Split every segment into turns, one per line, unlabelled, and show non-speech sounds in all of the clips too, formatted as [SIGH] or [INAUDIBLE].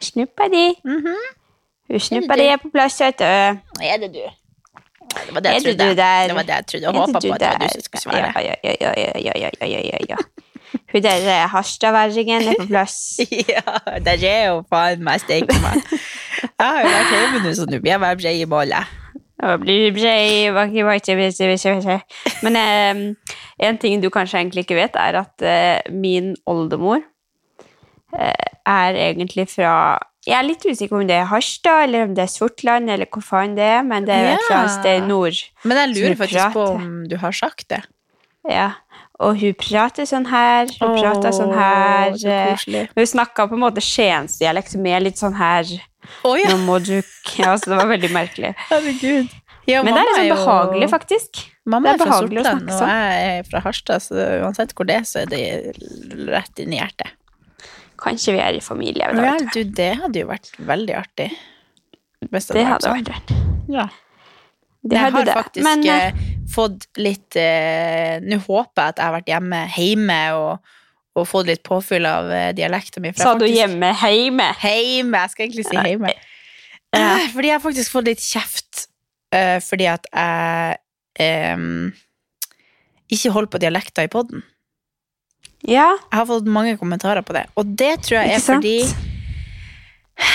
Snuppa di. Snuppa di er på plass, vet du. Er det du? Det var det jeg trodde. Det var det jeg trodde. Jeg håpa på at det var du som skulle svare. Ja, ja, ja, ja, ja, ja, ja, ja, ja. Hun der eh, harstadværingen er på [LAUGHS] plass.
[LAUGHS] Ja, der er jo faen meg steike meg.
[LAUGHS]
Jeg har jo vært hjemme nå, så nå blir jeg bare brei i bollet.
Og blir brei, vakker, vakker, vakker, vakker, vakker. Men eh, en ting du kanskje egentlig ikke vet, er at eh, min oldemor eh, er egentlig fra Jeg er litt usikker om det er Harstad, eller om det er Sortland, eller hvor faen det er, men det er jo et eller annet
Ja.
sted i nord.
Men jeg
Så
lurer
du
faktisk på
prater.
om du har sagt det.
Ja. Og hun prater sånn her, hun prater sånn her.
Åh, så
eh,
koselig.
Hun snakka på en måte skiensdialekt med litt sånn her
Å ja,
Nå må du [LAUGHS] Ja, så det var veldig merkelig.
herregud. Ja,
Men det
mamma
er liksom
jo-
behagelig, faktisk.
Mamma
Det
er
er
fra
behagelig å
Sortland,
snakke sånn.
og jeg er fra Harstad, så uansett hvor det er, så er det rett inn i hjertet.
Kanskje vi er i familie. vet du.
Ja, du, det hadde jo vært veldig artig. Hvis
Det hadde vært rart.
Ja.
Det
sånn. jeg
hadde
altså. har
det.
faktisk
Men, eh,
eh, fått litt eh, Nå håper jeg at jeg har vært hjemme, hjemme og, og fått litt påfyll av eh, dialekten min. for jeg
sa du
faktisk-
hjemme heime?
Heime. Jeg skal egentlig si heime.
Ja.
Eh, Fordi jeg har faktisk fått litt kjeft eh, fordi at jeg em, ikke holder på dialekter i poden.
Ja,
Jeg har fått mange kommentarer på det, og det tror jeg
ikke
er fordi [SIGHS]
sant?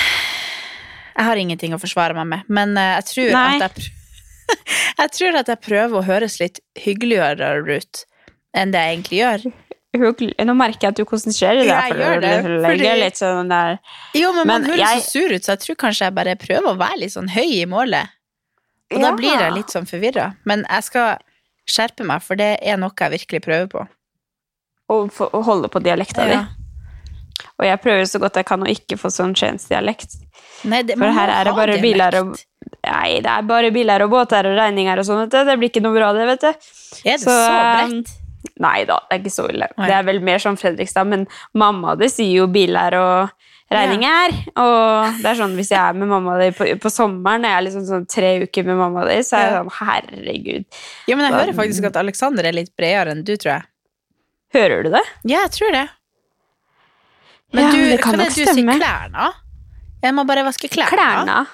Jeg har ingenting å forsvare meg med, men eh, jeg tror,
Nei.
at jeg, pr- [LAUGHS] jeg tror at jeg prøver å høres litt hyggeligere ut enn det jeg egentlig gjør.
Hugl- Nå merker jeg at du konsentrerer deg.
Jeg
for
gjør
du
det,
legger
fordi-
litt sånn der.
Jo, men, man
Men
høres
jeg-
så sur ut, så jeg tror kanskje jeg bare prøver å være litt sånn høy i målet. Og da
Ja.
blir jeg litt sånn forvirra. Men jeg skal skjerpe meg, for det er noe jeg virkelig prøver på.
Og, få- og holde på dialekta
Ja.
di. Og jeg prøver så godt jeg kan å ikke få sånn Chance-dialekt.
Nei, det,
For
man må
her er det
ha
bare
dialekt.
biler og Nei, det er bare biler og båter og regninger og sånn. vet du. Det blir ikke noe bra, det, vet du.
Er det så,
um,
bredt?
Nei da, det er ikke så ille.
Oi.
Det er vel mer som Fredrikstad, men mamma di sier jo biler og regninger. Og det er sånn hvis jeg er med mamma di på, på sommeren, og jeg er liksom sånn tre uker med mamma di, så er jeg
Ja.
sånn herregud.
Ja, men jeg hører faktisk at Aleksander er litt bredere enn du, tror jeg.
Hører du det?
Ja, jeg tror det. Men
Ja,
du,
det kan
hva er
nok
det du sier
stemme.
klærne? Jeg må bare vaske klærne.
Klærne.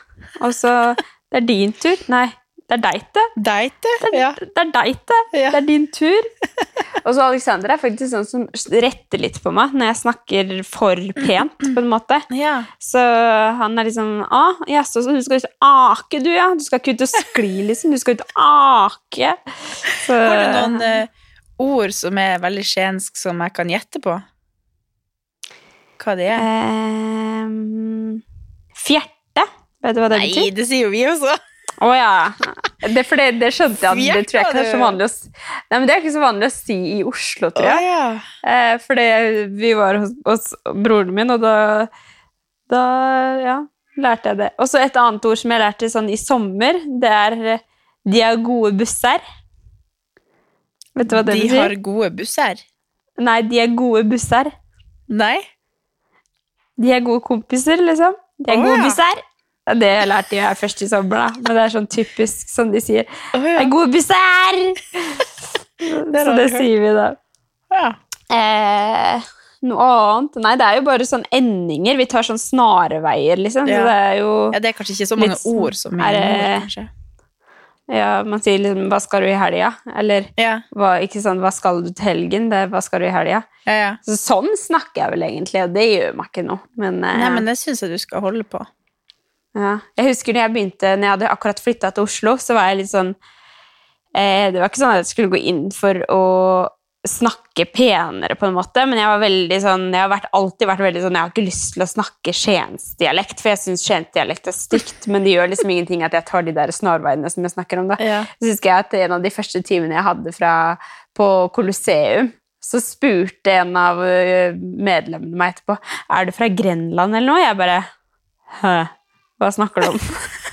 Og så Det er din tur. Nei, det er deg, det.
Deite? Ja.
Det er deg, det.
Ja.
Det er din tur. [LAUGHS] Og så Alexander er faktisk sånn som retter litt på meg når jeg snakker for pent, på en måte.
ja.
Så han er liksom Å, jaså, så du skal ut og ake, du, ja? Du skal ikke ut og skli, liksom. Du skal ut og ake. Så,
Har du noen eh, ord som er veldig skjensk, som jeg kan gjette på? Hva det
Eh,
er?
Ehm, Fjerte. Vet du hva det betyr?
det sier jo vi også.
Å ja. Det, for det, det skjønte jeg. at Det tror jeg ikke er
Fjerte,
så
du.
vanlig å, s- Nei, men det er ikke så vanlig å si i Oslo, tror jeg.
Å, ja.
Eh, fordi vi var hos, hos broren min, og da, da ja, lærte jeg det. Og så et annet ord som jeg lærte sånn i sommer, det er eh, 'de har gode busser'. Vet du hva det
De
betyr?
har gode busser.
Nei, de er gode busser.
Nei?
De er gode kompiser, liksom. De er
Å,
gode
ja.
busser. Ja, Det lærte jeg først i sommer, da. Men det er sånn typisk sånn de sier.
Å,
Det
ja.
er gode busser!
[LAUGHS] Det
Så
har
det
jeg hørt.
sier vi da.
Ja.
Eh, noe annet? Nei, det er jo bare sånn endinger. Vi tar sånn snarveier, liksom.
Ja.
Så det er jo
ja, det er kanskje ikke så mange
Litt- sånn
ord som vi
er
er
det-
nord, kanskje.
Ja, man sier liksom 'hva skal du i helga?' Eller hva, ikke sant, 'hva skal du til helgen?' Det er 'hva skal du i helga?' Så sånn snakker jeg vel egentlig, og det gjør man ikke nå. Men, eh,
Nei, men det syns jeg du skal holde på.
ja. Jeg husker når jeg begynte, når jeg hadde akkurat flytta til Oslo, så var jeg litt sånn eh, Det var ikke sånn at jeg skulle gå inn for å snakke penere, på en måte, men jeg var veldig sånn, jeg har vært, alltid vært veldig sånn Jeg har ikke lyst til å snakke skiensdialekt, for jeg syns skiensdialekt er stygt, men det gjør liksom ingenting at jeg tar de der snarveiene som jeg snakker om, da. Så husker jeg at en av de første timene jeg hadde fra, på Colosseum, så spurte en av ø, medlemmene meg etterpå er du fra Grenland eller noe. Jeg bare Hæ? Hva snakker du om?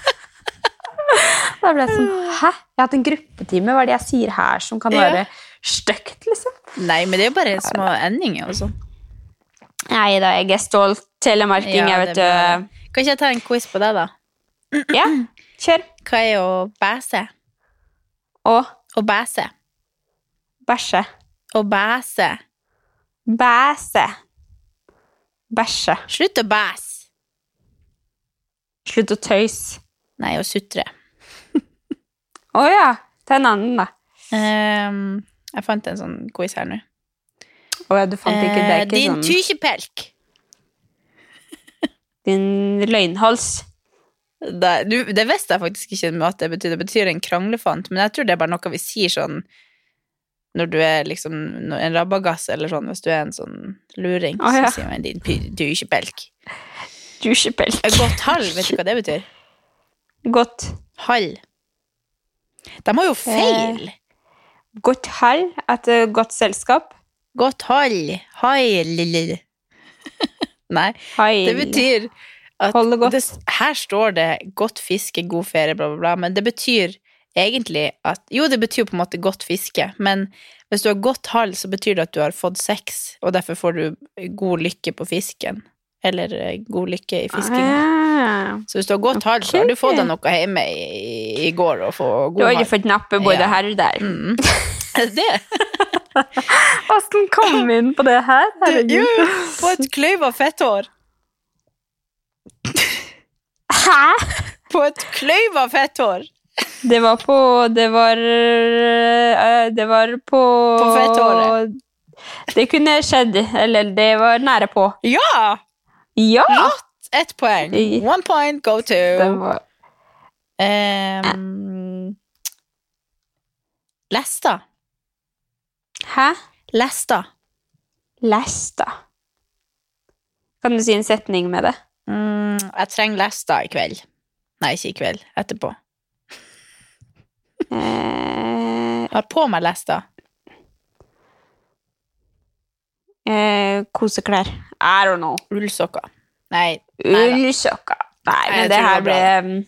[LAUGHS] da ble jeg sånn Hæ? Jeg har hatt en gruppetime. Hva er det jeg sier her som kan
Ja.
være stygt, liksom?
Nei, men det er jo bare små endinger og sånn.
Nei da, jeg er stolt telemarking,
Ja, det
jeg, vet du.
Kan ikke jeg ta en quiz på deg, da?
Ja, kjør.
Hva er å bæse?
Og
Å bæse.
bæsje.
Å bæse.
Bæse. Bæsje.
Slutt å bæse.
Slutt å tøys.
Nei, å sutre.
Å ja. Ta en annen, da.
Ehm, jeg fant en sånn quiz her nå.
Å ja, du fant ikke det? er
Eh,
Ikke
din
sånn.
tykjepelk.
Din løgnhals.
Det, du, det visste jeg faktisk ikke med at det betyr. Det betyr en kranglefant, men jeg tror det er bare noe vi sier sånn når du er liksom når- en rabagass eller sånn, hvis du er en sånn luring,
Å, ja.
så sier man din py- tykjepelk.
Dusjepelk.
Et Godt hall, vet du hva det betyr?
Godt.
Hall. De har jo feil.
Godt hall etter godt selskap.
Godt hall. Hall. [LAUGHS] Nei,
Hall.
det betyr at
Hold det godt.
det- Her står det 'godt fiske, god ferie', bla, bla, bla, men det betyr egentlig at Jo, det betyr på en måte godt fiske, men hvis du har godt hall, så betyr det at du har fått sex, og derfor får du eh, god lykke på fisken. Eller eh, god lykke i fiskinga.
Ah.
Så hvis du har godt hall, så har du
Ok.
fått deg noe hjemme i, i går og få
Du
god
har jo
hall.
fått nappe både
Ja. Mm.
her og der.
[LAUGHS] Det
Åssen kom vi inn på det her?
Jo, på et kløyv av fetthår.
Hæ?
På et kløyv av fetthår.
Det var på Det var øh, Det var på
På fetthåret.
Det kunne skjedd. Eller det var nære på.
Ja!
Ja!
Ett poeng.
I-
One point, go to.
Det var
Ehm, Lesta.
Hæ?
Lesta.
Lesta. Kan du si en setning med det?
Mm, jeg trenger Lesta i kveld. Nei, ikke i kveld. Etterpå.
Eh,
Jeg har på meg Lesta.
eh, koseklær. I don't know.
Ullsokker. Nei. nei da.
Ullsokka. Nei,
Nei,
men
jeg
det
tror
her
det
ble
var
um,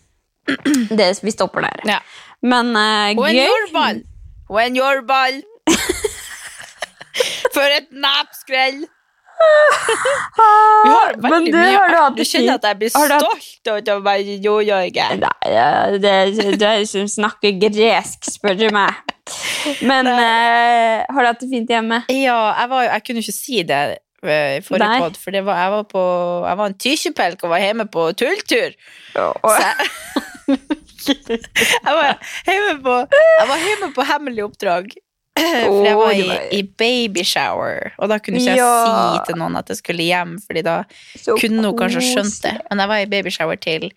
[CLEARS THROAT] det, Vi stopper der.
Ja.
Men eh,
Og en
gøy.
jordball. Og en [LAUGHS] jordball. For et napskrell! Vi har veldig
Men du,
mye
har du hatt
Du
det
skjønner at jeg blir
Har du hatt-
stolt av å være jordjorger.
Nei, eh, det, det er som snakker gresk, spør du meg. Men eh, har du hatt det fint hjemme?
Ja, jeg, var, jo- jeg kunne ikke si det eh, i forrige
Nei.
podd, for det var, jeg, var på, jeg var en tykjepelk og var hjemme på tulltur.
Og-
Så jeg, jeg, var hjemme på, jeg var hjemme på hemmelig oppdrag. eh, For jeg var
Å, du
i,
var-
i babyshower, og da kunne ikke jeg
Ja.
si til noen at jeg skulle hjem, fordi da
så
kunne hun kanskje ha skjønt det.
koselig.
Men jeg var i babyshower til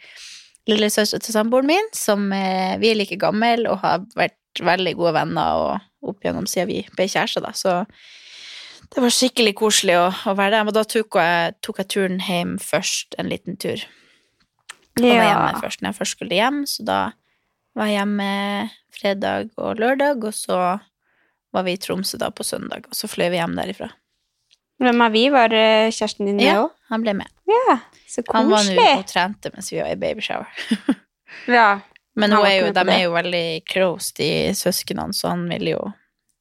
lillesøster til samboeren min, som eh, vi er like gammel og har vært veldig gode venner og opp gjennom siden vi ble kjærester, da. Så det var skikkelig koselig å, å være der. Men da tok jeg, tok jeg turen hjem først, en liten tur. Og var hjemme
Ja.
først når jeg først skulle hjem, så da var jeg hjemme fredag og lørdag, og så var vi i Tromsø da på søndag, og så fløy vi hjem derifra.
Hvem er vi? Var eh, kjæresten din med
Ja,
òg?
han ble med.
Ja. Så
Han var nå og
koselig.
trente mens vi var i babyshower.
Ja.
Men hun
Han var
er jo,
ikke med
de
på det.
er jo veldig close, de søsknene, så han ville jo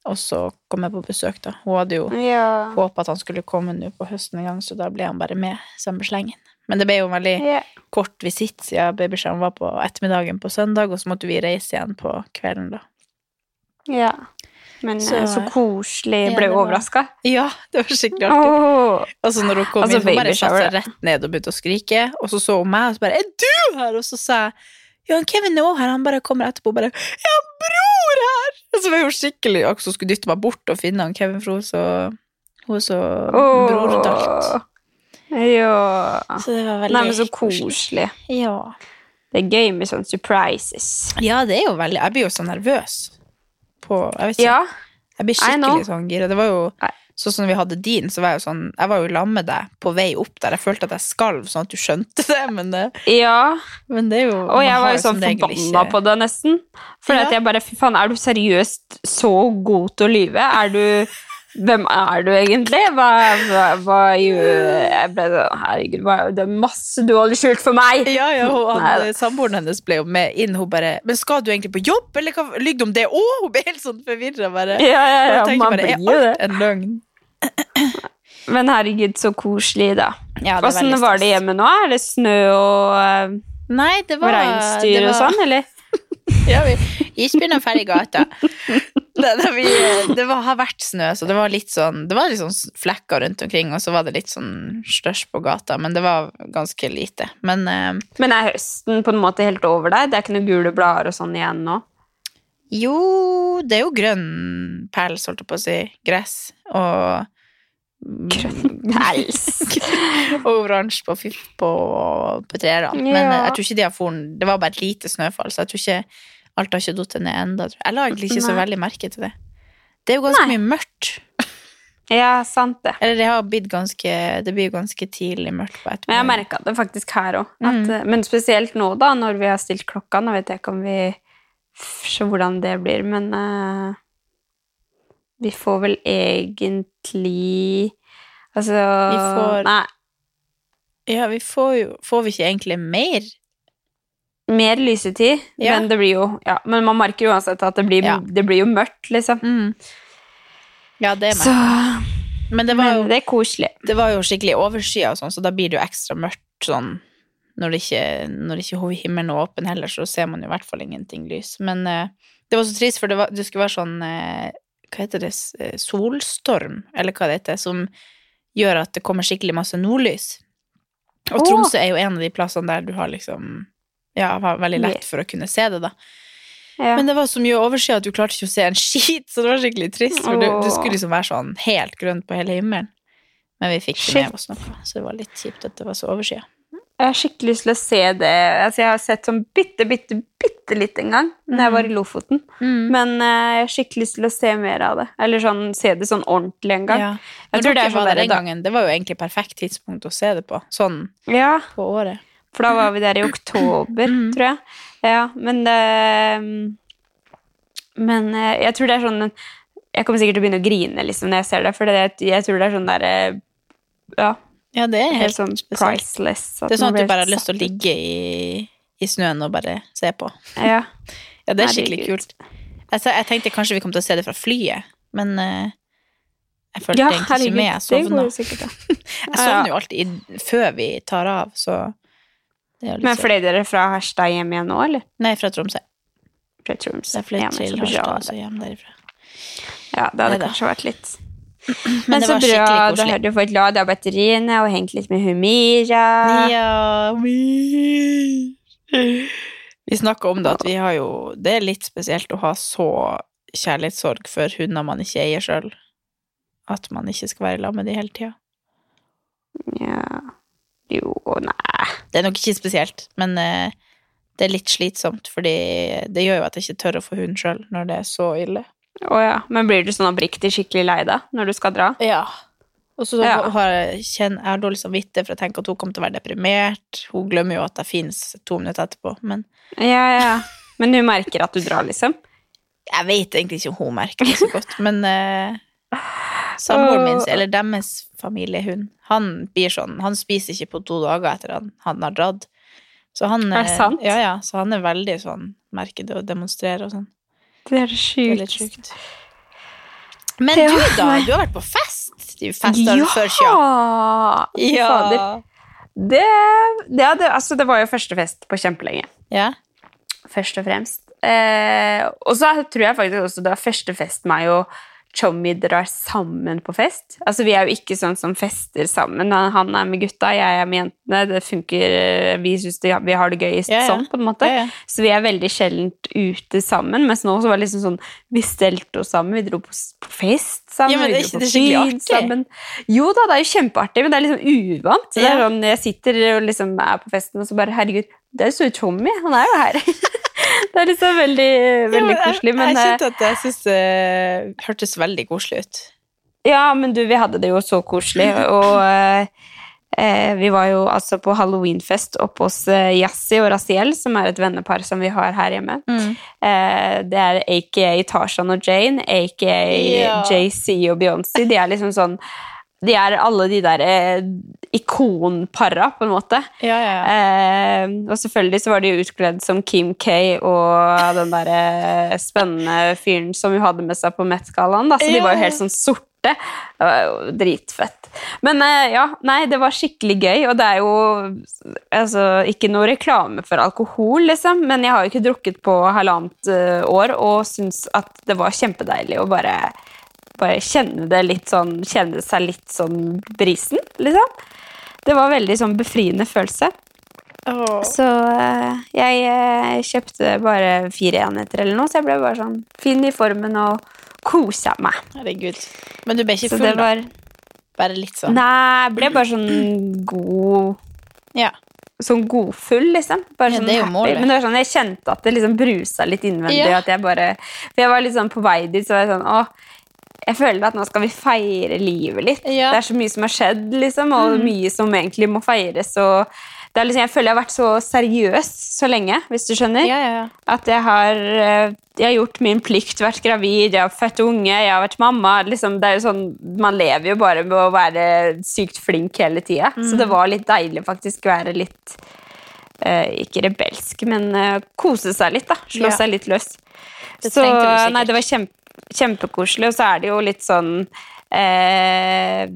også komme på besøk, da. Hun hadde jo
Ja.
håpet at han skulle komme nå på høsten en gang, så da ble han bare med samme slengen. Men det ble jo en veldig
Ja.
kort visitt siden babyskjermen var på ettermiddagen på søndag, og så måtte vi reise igjen på kvelden, da.
ja. Men
Så-
eh, så koselig.
Ja,
Ble
det
du
var-
overraska?
Ja, det var skikkelig artig.
Åh.
Og så når hun kom
Altså,
inn, hun bare satte
babyshower.
seg rett ned og begynte å skrike, og så så hun meg, og så bare 'Er du her?' Og så sa jeg Johan Kevin er også her, han bare kommer etterpå og bare 'Jeg har en bror her!' Så var jeg jo skikkelig Akkurat som skulle dytte meg bort og finne han Kevin, for hun så, hun så
Åh.
brordalt.
Ja.
Så det var veldig
Nei, men så koselig.
Ja.
Det er gøy med sånne surprises.
ja, det er jo veldig Jeg blir jo så nervøs på Jeg vet ikke.
Ja,
Jeg blir
I know.
skikkelig sånn gira. Det var jo sånn som vi hadde din, så var jeg jo sånn Jeg var jo i lag med deg på vei opp der. Jeg følte at jeg skalv, sånn at du skjønte det, men det,
ja.
men det er jo
Og jeg var jo sånn forbanna på det nesten. Fordi
Ja.
at jeg bare, fy faen, er du seriøst så god til å lyve? Er du, hvem er du egentlig? Hva, hva, hva gjør Jeg ble sånn, herregud, hva, det er masse du holder skjult for meg!
Ja, ja, og han,
Nei.
samboeren hennes ble jo med inn. Hun bare 'Men skal du egentlig på jobb, eller hva lyver du om det òg?' Hun ble helt sånn forvirra, bare.
Ja, ja, ja,
Og jeg tenkte
man
bare, er
blir jo
alt
det.
En løgn.
Men herregud, så koselig, da.
Ja, det er
Åssen
veldig
var det
stas.
hjemme nå? Er det snø og eh,
Nei, det var det
reinsdyr og
var-
sånn, eller?
Ja, vi isbjørn og ferdig
[LAUGHS]
gata. Nei, nei, vi, det var, har vært snø, så det var litt sånn Det var litt sånn flekker rundt omkring, og så var det litt sånn størst på gata, men det var ganske lite. Men eh,
Men er høsten på en måte helt over deg? Det er ikke noen gule blader og sånn igjen nå?
jo, det er jo grønn pels, holdt jeg på å si. Gress. Og
Pels.
og oransje på, fyr- på, på trærne. Men
Ja.
eh, jeg tror ikke de har foren Det var bare et lite snøfall, så jeg tror ikke alt har ikke datt ned ennå. Jeg la egentlig ikke så
Nei.
veldig merke til det. Det er jo ganske mye mørkt.
Ja, sant det.
Eller det har blitt ganske Det blir jo ganske tidlig mørkt på
Men jeg
ettermiddagen.
merka det faktisk her òg.
Mm.
Men spesielt nå, da, når vi har stilt klokka. Nå vet jeg ikke om vi f- Så hvordan det blir, men eh, Vi får vel egentlig Altså
Vi får-
Nei,
Ja, vi får jo Får vi ikke egentlig mer?
mer lysetid.
Ja.
Men det blir jo ja, Men man merker jo uansett at det blir,
Ja.
det blir jo mørkt, liksom.
Ja, det er
Så
meg. Men det var
Men
jo,
det er koselig.
det var jo skikkelig overskya og sånn, så da blir det jo ekstra mørkt sånn når det ikke, når det ikke hov- himmelen er åpen heller, så ser man jo i hvert fall ingenting lys. Men eh, det var så trist, for det, var, det skulle være sånn eh, Hva heter det? S- eh, Solstorm, eller hva det heter, som gjør at det kommer skikkelig masse nordlys. Og
Åh.
Tromsø er jo en av de plassene der du har liksom Ja, har veldig lett for å kunne se det, da.
Ja.
Men det var så mye overskyet at du klarte ikke å se en skit, så det var skikkelig trist. For det, det skulle liksom være sånn helt grønt på hele himmelen. Men vi fikk ikke med oss noe, så det var litt kjipt at det var så overskyet.
Jeg har skikkelig lyst til å se det. Altså, jeg har sett sånn bitte, bitte, bitte litt en gang da jeg var
Mm.
i Lofoten. Men eh, jeg har skikkelig lyst til å se mer av det. Eller sånn, se det sånn ordentlig en gang.
Ja.
Jeg
Jeg
tror det er
var
sånn
der
der,
den
da.
gangen. Det var jo egentlig perfekt tidspunkt å se det på. Sånn
Ja,
på året.
for da var vi der i
[LAUGHS]
oktober,
Mm.
tror jeg. Ja, men det mm, Men eh, jeg tror det er sånn Jeg kommer sikkert til å begynne å grine liksom, når jeg ser det, for det, jeg tror det er sånn der eh, Ja,
Ja, det er
helt
helt
sånn
spesielt.
priceless.
Det er sånn at du bare har lyst til å ligge i, i snøen og bare se på.
Ja.
Ja, det er skikkelig
Herregud.
kult. Altså, jeg tenkte kanskje vi kom til å se det fra flyet, men eh, jeg følte
Ja,
egentlig ikke
herregud,
med. sånn Jeg
det går
sovna.
jo sikkert, da.
Jeg
Ja, ja.
sovner jo alltid i- før vi tar av, så det er jo litt
Men
søtt.
fløy dere fra Harstad hjem igjen nå, eller?
Nei, fra Tromsø.
Fra Troms?
Jeg fløy
Ja, men
til
så bra.
Harstad altså. og så hjem derifra.
Ja, det hadde
Neida.
kanskje vært litt Men,
[CLEARS THROAT] Men det
så
var
bra,
skikkelig
da
koselig.
har du fått lada batteriene og hengt litt med Humira.
Ja, vi Vi snakka om det at vi har jo Det er litt spesielt å ha så kjærlighetssorg for hunder man ikke eier sjøl. At man ikke skal være i lag med de hele tida.
Ja. Jo, nei
Det er nok ikke spesielt, men eh, det er litt slitsomt, fordi det gjør jo at jeg ikke tør å få hund sjøl når det er så ille.
Å ja. Men blir du sånn oppriktig skikkelig lei deg når du skal dra?
Ja. Og så
Ja.
har jeg, kjenn, jeg har dårlig samvittighet for jeg tenker at hun kommer til å være deprimert. Hun glemmer jo at jeg fins to minutter etterpå. Men
Ja, ja. Men hun merker at du drar, liksom?
jeg vet egentlig ikke om hun merker det så godt. [LAUGHS] Men eh, samboeren min, eller deres familiehund, han blir sånn Han spiser ikke på to dager etter han, han har dratt. Så han,
Er det
eh,
sant?
Ja, ja, så han er veldig sånn merker det og demonstrerer og sånn.
Det er
Det er litt sjukt. Men du, da? Du har vært på fest? Du festa
Ja!
før sjøl.
ja. Fader. Det, det, hadde, altså, det var jo første fest på kjempelenge.
ja.
først og fremst. Eh, og så tror jeg faktisk også det var første fest meg og chommy drar sammen på fest. Altså, vi er jo ikke sånn som fester sammen. Han- Han er med gutta, jeg er med jentene. Det funker, eh, vi synes det, vi har det gøyest
Ja, ja.
sånn, på en måte.
Ja, ja.
Så vi er veldig sjeldent ute sammen, mens nå så var det liksom sånn, vi stelte oss sammen, vi dro på, s- på fest sammen,
Ja, men
vi
det er ikke-
dro på
det er skikkelig
byen
artig.
sammen. Jo da, det er jo kjempeartig, men det er liksom uvant. Så det er
Ja.
sånn, jeg sitter og liksom er på festen, og så bare, herregud, det er jo så Tommy, han er jo her. [LAUGHS] det er liksom veldig, veldig koselig, men...
Jeg,
eh,
jeg kjente at jeg synes det hørtes veldig koselig ut.
ja, men du, vi hadde det jo så koselig, og eh, eh, vi var jo altså på halloweenfest oppe hos eh, Yassi og Raziel, som er et vennepar som vi har her hjemme.
Mm.
Eh, det er aka Tarzan og Jane, aka
Ja.
JC og Beyoncé. De er liksom sånn De er alle de der eh, ikonpara, på en måte.
Ja, ja, ja.
Eh, og selvfølgelig så var de jo utkledd som Kim K og den der eh, spennende fyren som hun hadde med seg på Met-gallaen. da. Så de
Ja,
var jo
ja.
helt sånn sorte. Det var jo dritfett. Men eh, ja, nei, det var skikkelig gøy, og det er jo altså, ikke noe reklame for alkohol, liksom, men jeg har jo ikke drukket på halvannet eh, år og syns at det var kjempedeilig å bare bare kjenne det litt sånn Kjenne seg litt sånn brisen, liksom. Det var veldig sånn befriende følelse. Så eh, jeg eh, kjøpte bare fire enheter eller noe, så jeg ble bare sånn fin i formen og kosa meg.
Herregud. Men du ble ikke
Så
full,
det var
da? Bare litt sånn?
Nei, jeg ble bare sånn god
Ja.
Sånn godfull, liksom. Bare
Ja,
sånn
det er jo
happy.
målet.
Men det var sånn, jeg kjente at det liksom brusa litt innvendig.
Ja.
At jeg bare, for jeg var litt sånn på vei dit, så var jeg sånn Å, jeg føler at nå skal vi feire livet litt.
Ja. Mm.
Det er så mye som har skjedd, liksom, og mye som egentlig må feires. Og det er liksom, jeg føler jeg har vært så seriøs så lenge, hvis du skjønner.
Ja, ja, ja.
At jeg har, eh, jeg har gjort min plikt, vært gravid, jeg har født unge, jeg har vært mamma. Liksom, det er jo sånn, man lever jo bare med å være sykt flink hele tida.
Mm.
Så det var litt deilig faktisk å være litt eh, Ikke rebelsk, men eh, kose seg litt. da, Slå
Ja.
seg litt løs.
Det
så
trengte du sikkert.
nei, det var kjempe, kjempekoselig. Og så er det jo litt sånn eh,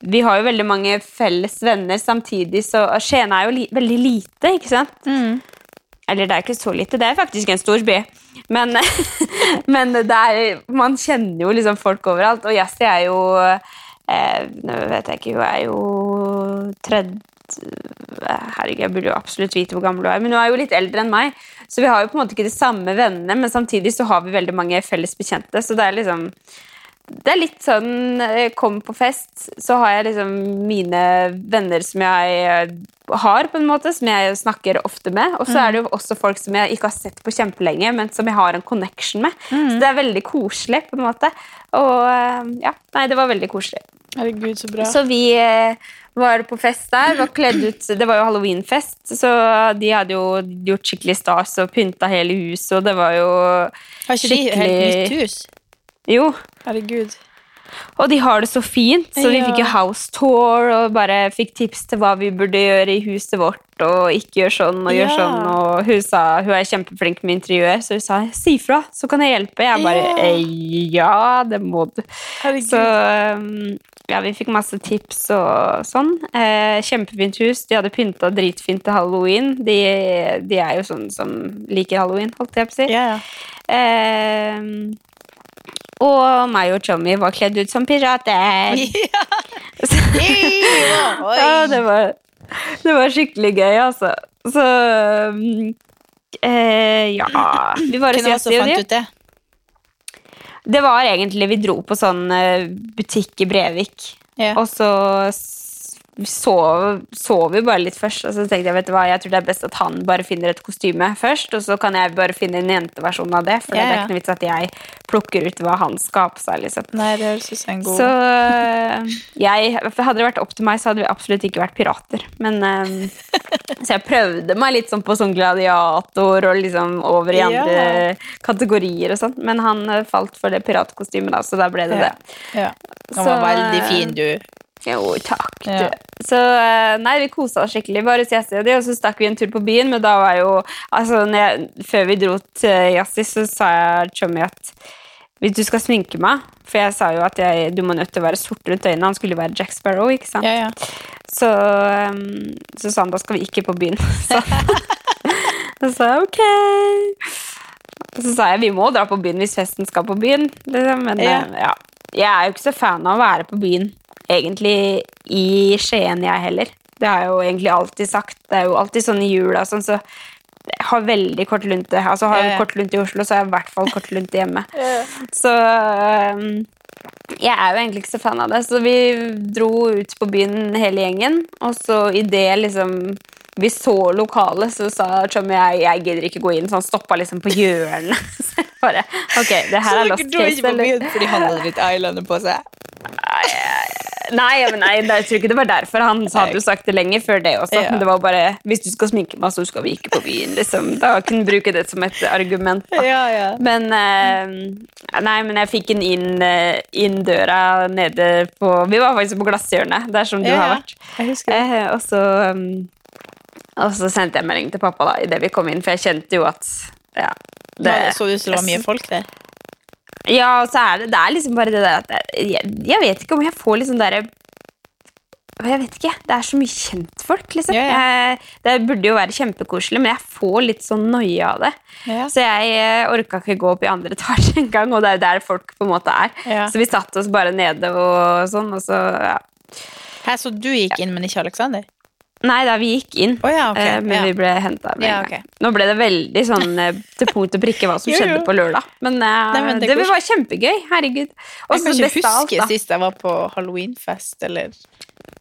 Vi har jo veldig mange felles venner samtidig, så og Skien er jo li veldig lite, ikke sant?
Mm.
Eller det er ikke så lite, det er faktisk en stor by. Men, [LAUGHS] men det er, man kjenner jo liksom folk overalt. Og Jazzy er jo eh, Nå vet jeg ikke, hun er jo tredje Herregud, jeg burde jo absolutt vite hvor gammel hun er. Men hun er jo litt eldre enn meg, så vi har jo på en måte ikke de samme vennene, men samtidig så har vi veldig mange felles bekjente. Så det er liksom det er litt sånn eh, Kom på fest, så har jeg liksom mine venner som jeg eh, har, på en måte, som jeg snakker ofte med. Og så
Mm.
er det jo også folk som jeg ikke har sett på kjempelenge, men som jeg har en connection med. Så
Mm.
det er veldig koselig, på en måte. Og eh, ja, nei, det var veldig koselig.
Herregud, så bra.
Så vi eh, var på fest der, var kledd ut, det var jo halloweenfest, så de hadde jo gjort skikkelig stas og pynta hele huset, og det var jo
Har ikke de helt nytt hus?
Jo,
Herregud.
og de har det så fint, så vi
Ja.
fikk jo house tour og bare fikk tips til hva vi burde gjøre i huset vårt. Og ikke gjør sånn og gjør
Ja.
sånn. Og hun sa hun er kjempeflink med interiør, så hun sa si fra, så kan jeg hjelpe. Jeg bare
Ja.
«Eh, ja, det må du.
Herregud.
Så um, ja, vi fikk masse tips og sånn. Eh, kjempefint hus. De hadde pynta dritfint til halloween. De, de er jo sånn som liker halloween, holdt jeg på å si.
Ja, ja.
Eh, og meg og Tommy var kledd ut som pirater.
[LAUGHS]
[LAUGHS] Ja, det var, det var skikkelig gøy, altså. Så mm, eh, ja Vi
Hvem var
var og
det
sieste
som
i
fant
det.
ut det?
Det var egentlig Vi dro på sånn eh, butikk i Brevik,
Ja.
og så s- sov, sov vi bare litt først. Og så tenkte jeg vet du hva, jeg tror det er best at han bare finner et kostyme først, og så kan jeg bare finne en jenteversjon av det, for
Ja,
det er
ja.
ikke noe vits at jeg plukker ut hva han skal ha på seg. liksom.
Nei, det høres ut som en god
Så øh, jeg, for hadde det vært opp til meg, så hadde vi absolutt ikke vært pirater. Men, øhm, så jeg prøvde meg litt sånn på sånn gladiator og liksom over i
Ja.
andre kategorier og sånn. Men han øh, falt for det piratkostymet, da, så da ble det
ja.
det.
ja. Han
Så-
var veldig fin, du.
Jo, takk, du.
Ja.
Så øh, nei, vi kosa oss skikkelig. Bare hos Jazzy og de, og så stakk vi en tur på byen, men da var jo altså, når jeg, Før vi dro til Jazzy, så sa jeg Chummy at hvis du skal sminke meg For jeg sa jo at jeg, du må nødt til å være sort rundt øynene. Han skulle jo være Jack Sparrow, ikke sant?
Ja, ja.
Så, um, så sa han da skal vi ikke på byen. [LAUGHS] Så, så sa jeg ok. Og så sa jeg vi må dra på byen hvis festen skal på byen. Liksom. Men
Ja.
eh, ja. jeg er jo ikke så fan av å være på byen, egentlig, i Skien, jeg heller. Det har jeg jo egentlig alltid sagt. Det er jo alltid sånn i jula og sånn, så jeg har veldig kort lunte. Altså, har
Ja,
jeg
ja.
kort lunte i Oslo, så har jeg i hvert fall kort lunte hjemme. Så øhm, jeg er jo egentlig ikke så fan av det. Så vi dro ut på byen hele gjengen, og så i det liksom vi så lokalet, så sa Tommy jeg, jeg gidder ikke gå inn, så han stoppa liksom på hjørnet. [LAUGHS] Så jeg bare, ok, det her
Så
er
dere
lost
dro
case.
ikke på
eller?»
byen fordi han hadde litt eyeliner på seg?
Nei, men nei, jeg tror ikke det var derfor. Han hadde jo sagt det lenge før det også.
Ja.
Men det var bare hvis du skal sminke meg, så skal vi ikke på byen. Liksom. Da kunne du bruke det som et argument. Da.
Ja, ja.
Men, eh, nei, men jeg fikk den inn, eh, inn døra nede på Vi var faktisk på glasshjørnet, der som du
Ja,
har
ja.
vært.
Jeg husker det.
Eh, og, så, um, og så sendte jeg melding til pappa da, idet vi kom inn, for jeg kjente jo at ja,
Det, så det ut som det var mye folk der.
ja, og så er det, det er liksom bare det der at det- jeg, jeg vet ikke om jeg får liksom derre jeg vet ikke, Det er så mye kjentfolk, liksom.
Ja,
Jeg, det burde jo være kjempekoselig, men jeg får litt sånn noia av det.
Ja.
Så jeg eh, orka ikke gå opp i andre [LAUGHS] etasje engang, og det er jo der folk på en måte er.
Ja.
Så vi satte oss bare nede og sånn, og så ja.
Hæ, så du gikk inn, men ikke Aleksander?
Nei da, vi gikk inn,
Å ja, ok,
eh, men
ja.
vi ble henta med
Ja,
en gang.
ok.
Nå ble det veldig sånn eh, til punkt og prikke hva som
[LAUGHS] Jo, jo.
skjedde på lørdag, men eh,
Nei, men
det,
det går-
var kjempegøy. Herregud. Og
Jeg
så
kan ikke
best av alt,
huske
da.
sist jeg var på halloweenfest, eller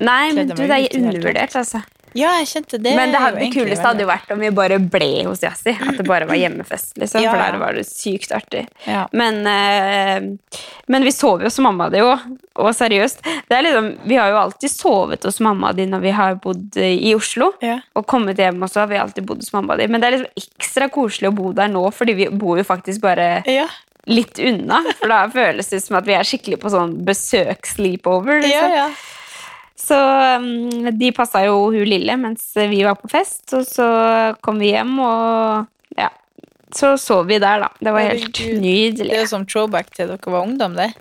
Nei, men
Kledde
du,
meg ut i det
det er
hele tatt.
undervurdert, altså.
Ja, jeg kjente det.
men det,
jo
hadde, det
egentlig
kuleste
veldig- Mm.
hadde jo vært om vi bare ble hos Jazzy. At det bare var hjemmefest, liksom.
Ja,
For
ja.
der var det sykt artig.
Ja.
Men, eh, men vi sover jo hos mamma di òg. Og seriøst, det er liksom, vi har jo alltid sovet hos mamma di når vi har bodd eh, i Oslo.
Ja.
Og kommet hjem, og så har vi alltid bodd hos mamma di. Men det er liksom ekstra koselig å bo der nå, fordi vi bor jo faktisk bare
Ja.
litt unna. For da føles det som at vi er skikkelig på sånn besøk-sleepover. Liksom.
ja, ja.
Så um, de passa jo hun lille mens vi var på fest, og så kom vi hjem, og ja. Så sov vi der, da. Det var helt
Herregud. Det er sånn-
nydelig.
jo som throwback til dere var ungdom, det.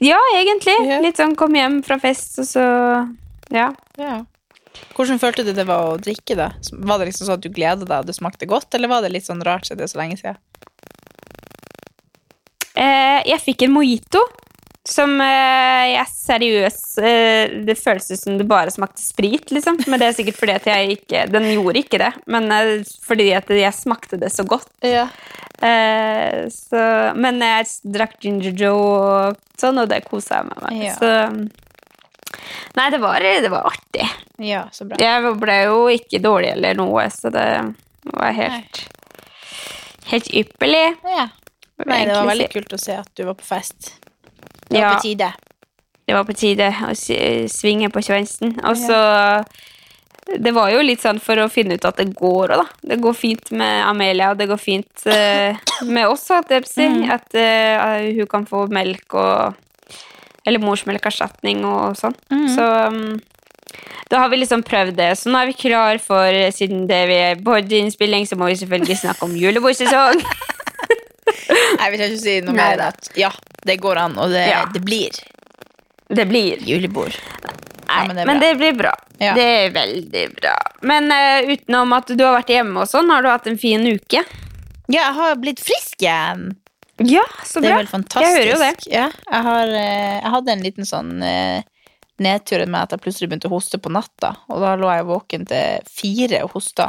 Ja, egentlig.
Ja.
Litt sånn kom hjem fra fest, og så Ja.
Ja. Hvordan følte du det var å drikke, da? Var det liksom sånn at du gledet deg, og det smakte godt, eller var det litt sånn rart siden det er så lenge siden?
Eh, jeg fikk en mojito som eh, jeg seriøs eh, Det føles ut som det bare smakte sprit, liksom. Men det er sikkert fordi at jeg ikke Den gjorde ikke det, men eh, fordi at jeg smakte det så godt.
Ja.
Eh, så, men jeg drakk Ginger Joe og sånn, og det kosa jeg meg med.
Ja.
Så Nei, det var, det var artig.
Ja, så bra.
Jeg ble jo ikke dårlig eller noe, så det var helt Helt ypperlig.
Ja. Nei, det var
egentlig
veldig
si.
kult å se at du var på fest. Det var
Ja,
på tide.
det var på tide å s- svinge på sveinsen. Og så Det var jo litt sånn for å finne ut at det går òg, da. Det går fint med Amelia, og det går fint eh, med oss, holdt jeg på å si. At eh, hun kan få melk og Eller morsmelkerstatning og sånn. Så um, da har vi liksom prøvd det. Så nå er vi klar for eh, Siden det vi er både innspilling, så må vi selvfølgelig snakke om julebordsesong.
Jeg vil ikke si noe
Nei
mer enn
da.
at ja, det går an, og det,
Ja.
det blir
Det blir
julebord. Ja,
Nei,
men det er
men
bra.
det blir bra.
Ja.
Det er veldig bra. Men eh, utenom at du har vært hjemme og sånn, har du hatt en fin uke?
Ja, jeg har blitt frisk igjen.
Ja, så
Det er
bra.
helt fantastisk.
Jeg hører jo det.
Ja, jeg, har, eh, jeg hadde en liten sånn eh, nedtur med at jeg plutselig begynte å hoste på natta. Og da lå jeg våken til fire og hosta.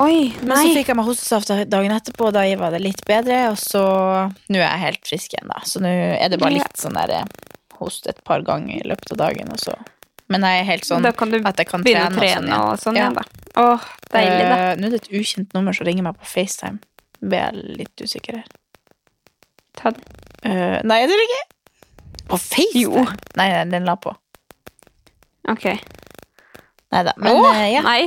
Oi,
Men så
nei.
fikk jeg meg hostesaft dagen etterpå, og da var det litt bedre. Og så nå er jeg helt frisk igjen, da. Så nå er det bare
Ja.
litt sånn der eh, host et par ganger i løpet av dagen, og så Men jeg er helt sånn
Da kan du
at jeg kan
begynne å
trene,
trene
og
og sånn
Ja.
igjen, da. Åh, deilig, da.
Eh, Nå er det et ukjent nummer som ringer meg på FaceTime. Ble jeg litt usikker her.
Ta den.
Eh, nei, det er det ikke. På FaceTime?
Jo.
Nei, nei, den la på.
Ok.
Nei da. Men
Åh,
eh, ja,
nei.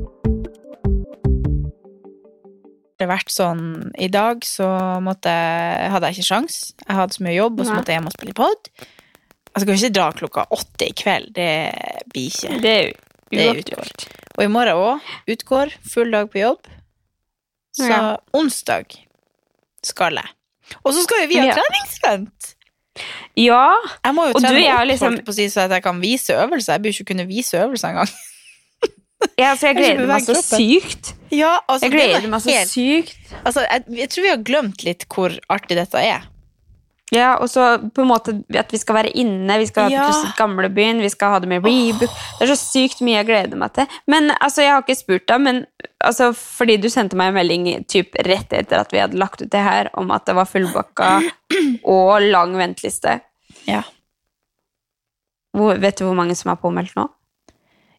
Det har vært sånn I dag så måtte, jeg- hadde jeg ikke sjans. Jeg hadde så mye jobb, og så
Nei.
måtte jeg hjem og spille pod. Jeg skal jo ikke dra klokka åtte i kveld. Det blir ikke.
Det er
Det
jo
er uaktuelt. Og i morgen òg. Utgår. Full dag på jobb. Så
Ja.
onsdag skal jeg. Og så skal jo vi ha
Ja.
treningsstunt!
Ja,
Jeg må jo
Og du,
trene
jeg har
opp
liksom-
folk på å si så at jeg kan vise øvelser. Jeg burde ikke kunne vise øvelser engang.
Ja, for jeg
Kanskje
gleder meg så
bevege kroppen.
sykt.
Ja, altså,
Jeg
det
gleder
var
meg så
helt-
sykt.
altså, jeg, jeg tror vi har glemt litt hvor artig dette er.
Ja, og så på en måte at vi skal være inne, vi skal
Ja.
ha pusset gamlebyen, vi skal ha det med rebook. Det er så sykt mye jeg gleder meg til. Men altså, jeg har ikke spurt deg, men altså, fordi du sendte meg en melding typ rett etter at vi hadde lagt ut det her, om at det var fullbakka
[CLEARS THROAT]
og lang venteliste.
Ja.
Hvor, vet du hvor mange som er påmeldt nå?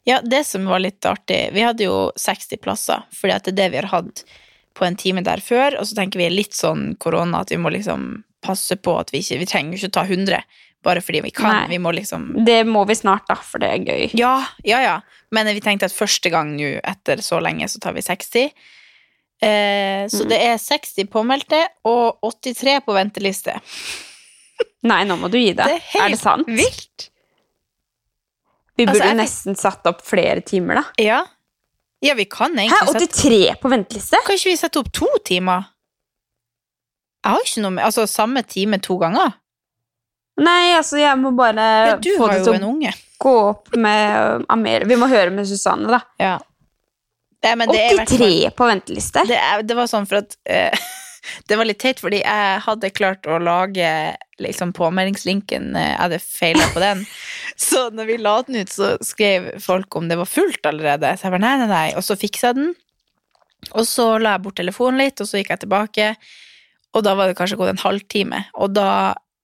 ja, det som var litt artig Vi hadde jo 60 plasser, fordi at det er det vi har hatt på en time der før. Og så tenker vi litt sånn korona at vi må liksom passe på at vi ikke Vi trenger jo ikke ta 100 bare fordi vi kan.
Nei.
Vi må liksom
Det må vi snart, da, for det er gøy.
Ja, ja, ja. Men vi tenkte at første gang nå etter så lenge, så tar vi 60. Eh,
Mm.
så det er 60 påmeldte og 83 på venteliste.
Nei, nå må du gi deg.
Det er helt
det sant?
vilt.
Vi
Altså,
burde
jeg fikk-
nesten satt opp flere timer, da.
Ja. Ja, vi kan egentlig
Hæ,
sette
83 på venteliste?
Kan ikke vi sette opp to timer? Jeg har ikke noe med Altså samme time to ganger.
Nei, altså, jeg må bare
Ja, du
få
har
det
jo
til å
en unge.
gå opp med um, Amelie. Vi må høre med Susanne, da.
Ja. Nei, men det er i hvert fall-
83 på venteliste?
det, er, det var sånn for at eh, [LAUGHS] Det var litt teit, fordi jeg hadde klart å lage liksom, påmeldingslinken. eh, Jeg hadde feila på
[LAUGHS]
den. Så når vi la den ut, så skrev folk om det var fullt allerede. Så jeg bare nei, nei, nei. Og så fiksa jeg den. Og så la jeg bort telefonen litt, og så gikk jeg tilbake. Og da var det kanskje gått en halvtime. Og da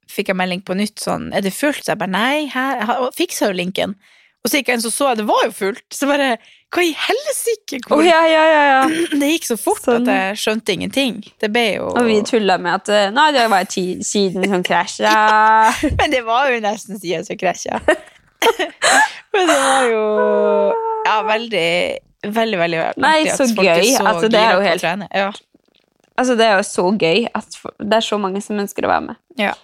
fikk jeg melding på nytt sånn Er det fullt? Så jeg bare nei, her. Jeg har- og fiksa jo linken. Og så gikk jeg inn, så så jeg det var jo fullt. Så bare Hva i helsike?
Å,
hvor-
ja, ja, ja, ja.
[CLEARS THROAT] det gikk så fort
Sånn.
at jeg skjønte ingenting. Det ble jo
Og vi tulla med at eh, Nei, det var ti siden hun krasja.
[LAUGHS] Men det var jo nesten
[LAUGHS]
siden som krasja. Men det var jo Ja, veldig veldig, veldig artig
Nei,
at
så
folk er
gøy.
så
Altså, det er
gira
jo
på å
helt-
trene. Ja.
Altså, det er jo så gøy at f- det er så mange som ønsker å være med.
ja.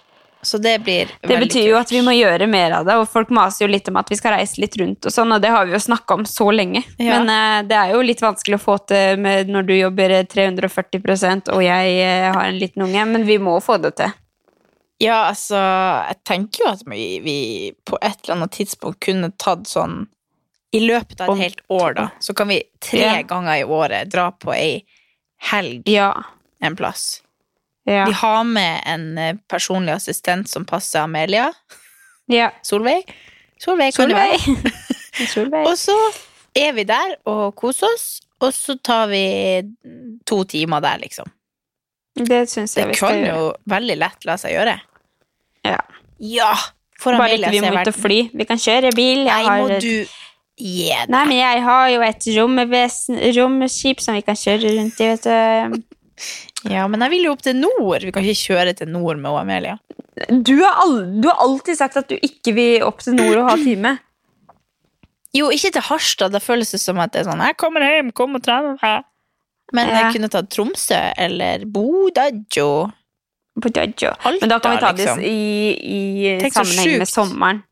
Så det blir
Det
veldig
betyr jo at vi må gjøre mer av det, og folk maser jo litt om at vi skal reise litt rundt og sånn, og det har vi jo snakka om så lenge.
Ja.
Men eh, det er jo litt vanskelig å få til med når du jobber 340 og jeg eh, har en liten unge, men vi må få det til.
Ja, altså, jeg tenker jo at vi, vi på et eller annet tidspunkt kunne tatt sånn I løpet av
Om-
et helt år, da, så kan vi tre
Ja.
ganger i året dra på ei helg
Ja.
en plass.
Ja.
Vi har med en eh, personlig assistent som passer Amelia.
ja.
Solveig. Solveig kan du være.
Solveig. Solveig.
Og så er vi der og koser oss, og så tar vi to timer der, liksom.
Det syns
Det
jeg vi skal
kan
gjøre.
jo veldig lett la seg gjøre.
Ja.
Ja! For
Bare
Amelia
ikke vi
ser
må ut og
verden.
fly. Vi kan kjøre bil. Jeg
Nei, må
har-
du gi deg.
Nei, men jeg har jo et romvesen, romskip som vi kan kjøre rundt i, vet du.
Ja, men jeg vil jo opp til nord. Vi kan ikke kjøre til nord med Amelia.
Du har, al du har alltid sagt at du ikke vil opp til nord og ha time.
Jo, ikke til Harstad. Da føles det som at det er sånn 'Jeg kommer hjem, kom og trener meg'. Men
Ja.
jeg kunne tatt Tromsø eller Bodø.
På Jojo.
Alta,
Men da kan vi ta det
liksom.
i, i
Tenk så
sammenheng med
sjukt.
sommeren,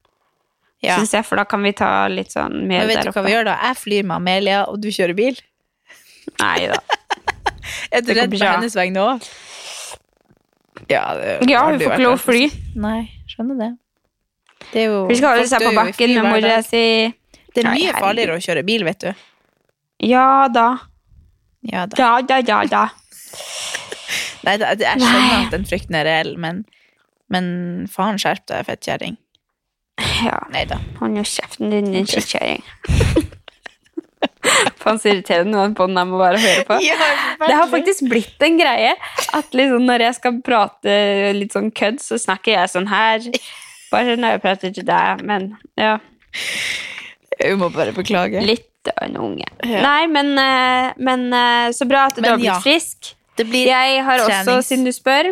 Ja.
synes jeg, for da kan vi ta litt sånn mer
Men vet
der
du
oppe.
hva vi gjør da? Jeg flyr med Amelia, og du kjører bil.
Nei da.
Er du
Det går
redd på
bra.
hennes vegne òg? Ja, det
Ja,
har
hun
du
får
vært
ikke lov å
redd
fly.
Nei, skjønner det. det er jo,
Vi skal holde
folk
seg
dør
på
jo i
bakken
fly
med
hver
mora
dag.
si.
Det er
Nei,
mye
herregud.
farligere å kjøre bil, vet du.
Ja da.
Ja, da.
Ja da, ja da.
Nei, det, det, jeg skjønner
Nei.
at den frykten er reell, men, men faen skjerp deg, fettkjerring.
Ja.
Nei da.
Hold nå kjeften din, din skittkjerring. [LAUGHS] Faen så irriterende noen bånd jeg må bare høre på. Det har faktisk blitt en greie at liksom når jeg skal prate litt sånn kødd, så snakker jeg sånn her. Bare når jeg prater til deg, men ja,
Hun må bare beklage.
litt av en unge.
Ja.
Nei, men, eh, men eh, så bra at du
Men
har blitt
ja.
frisk.
Det blir
Jeg har også,
trenings-
siden du spør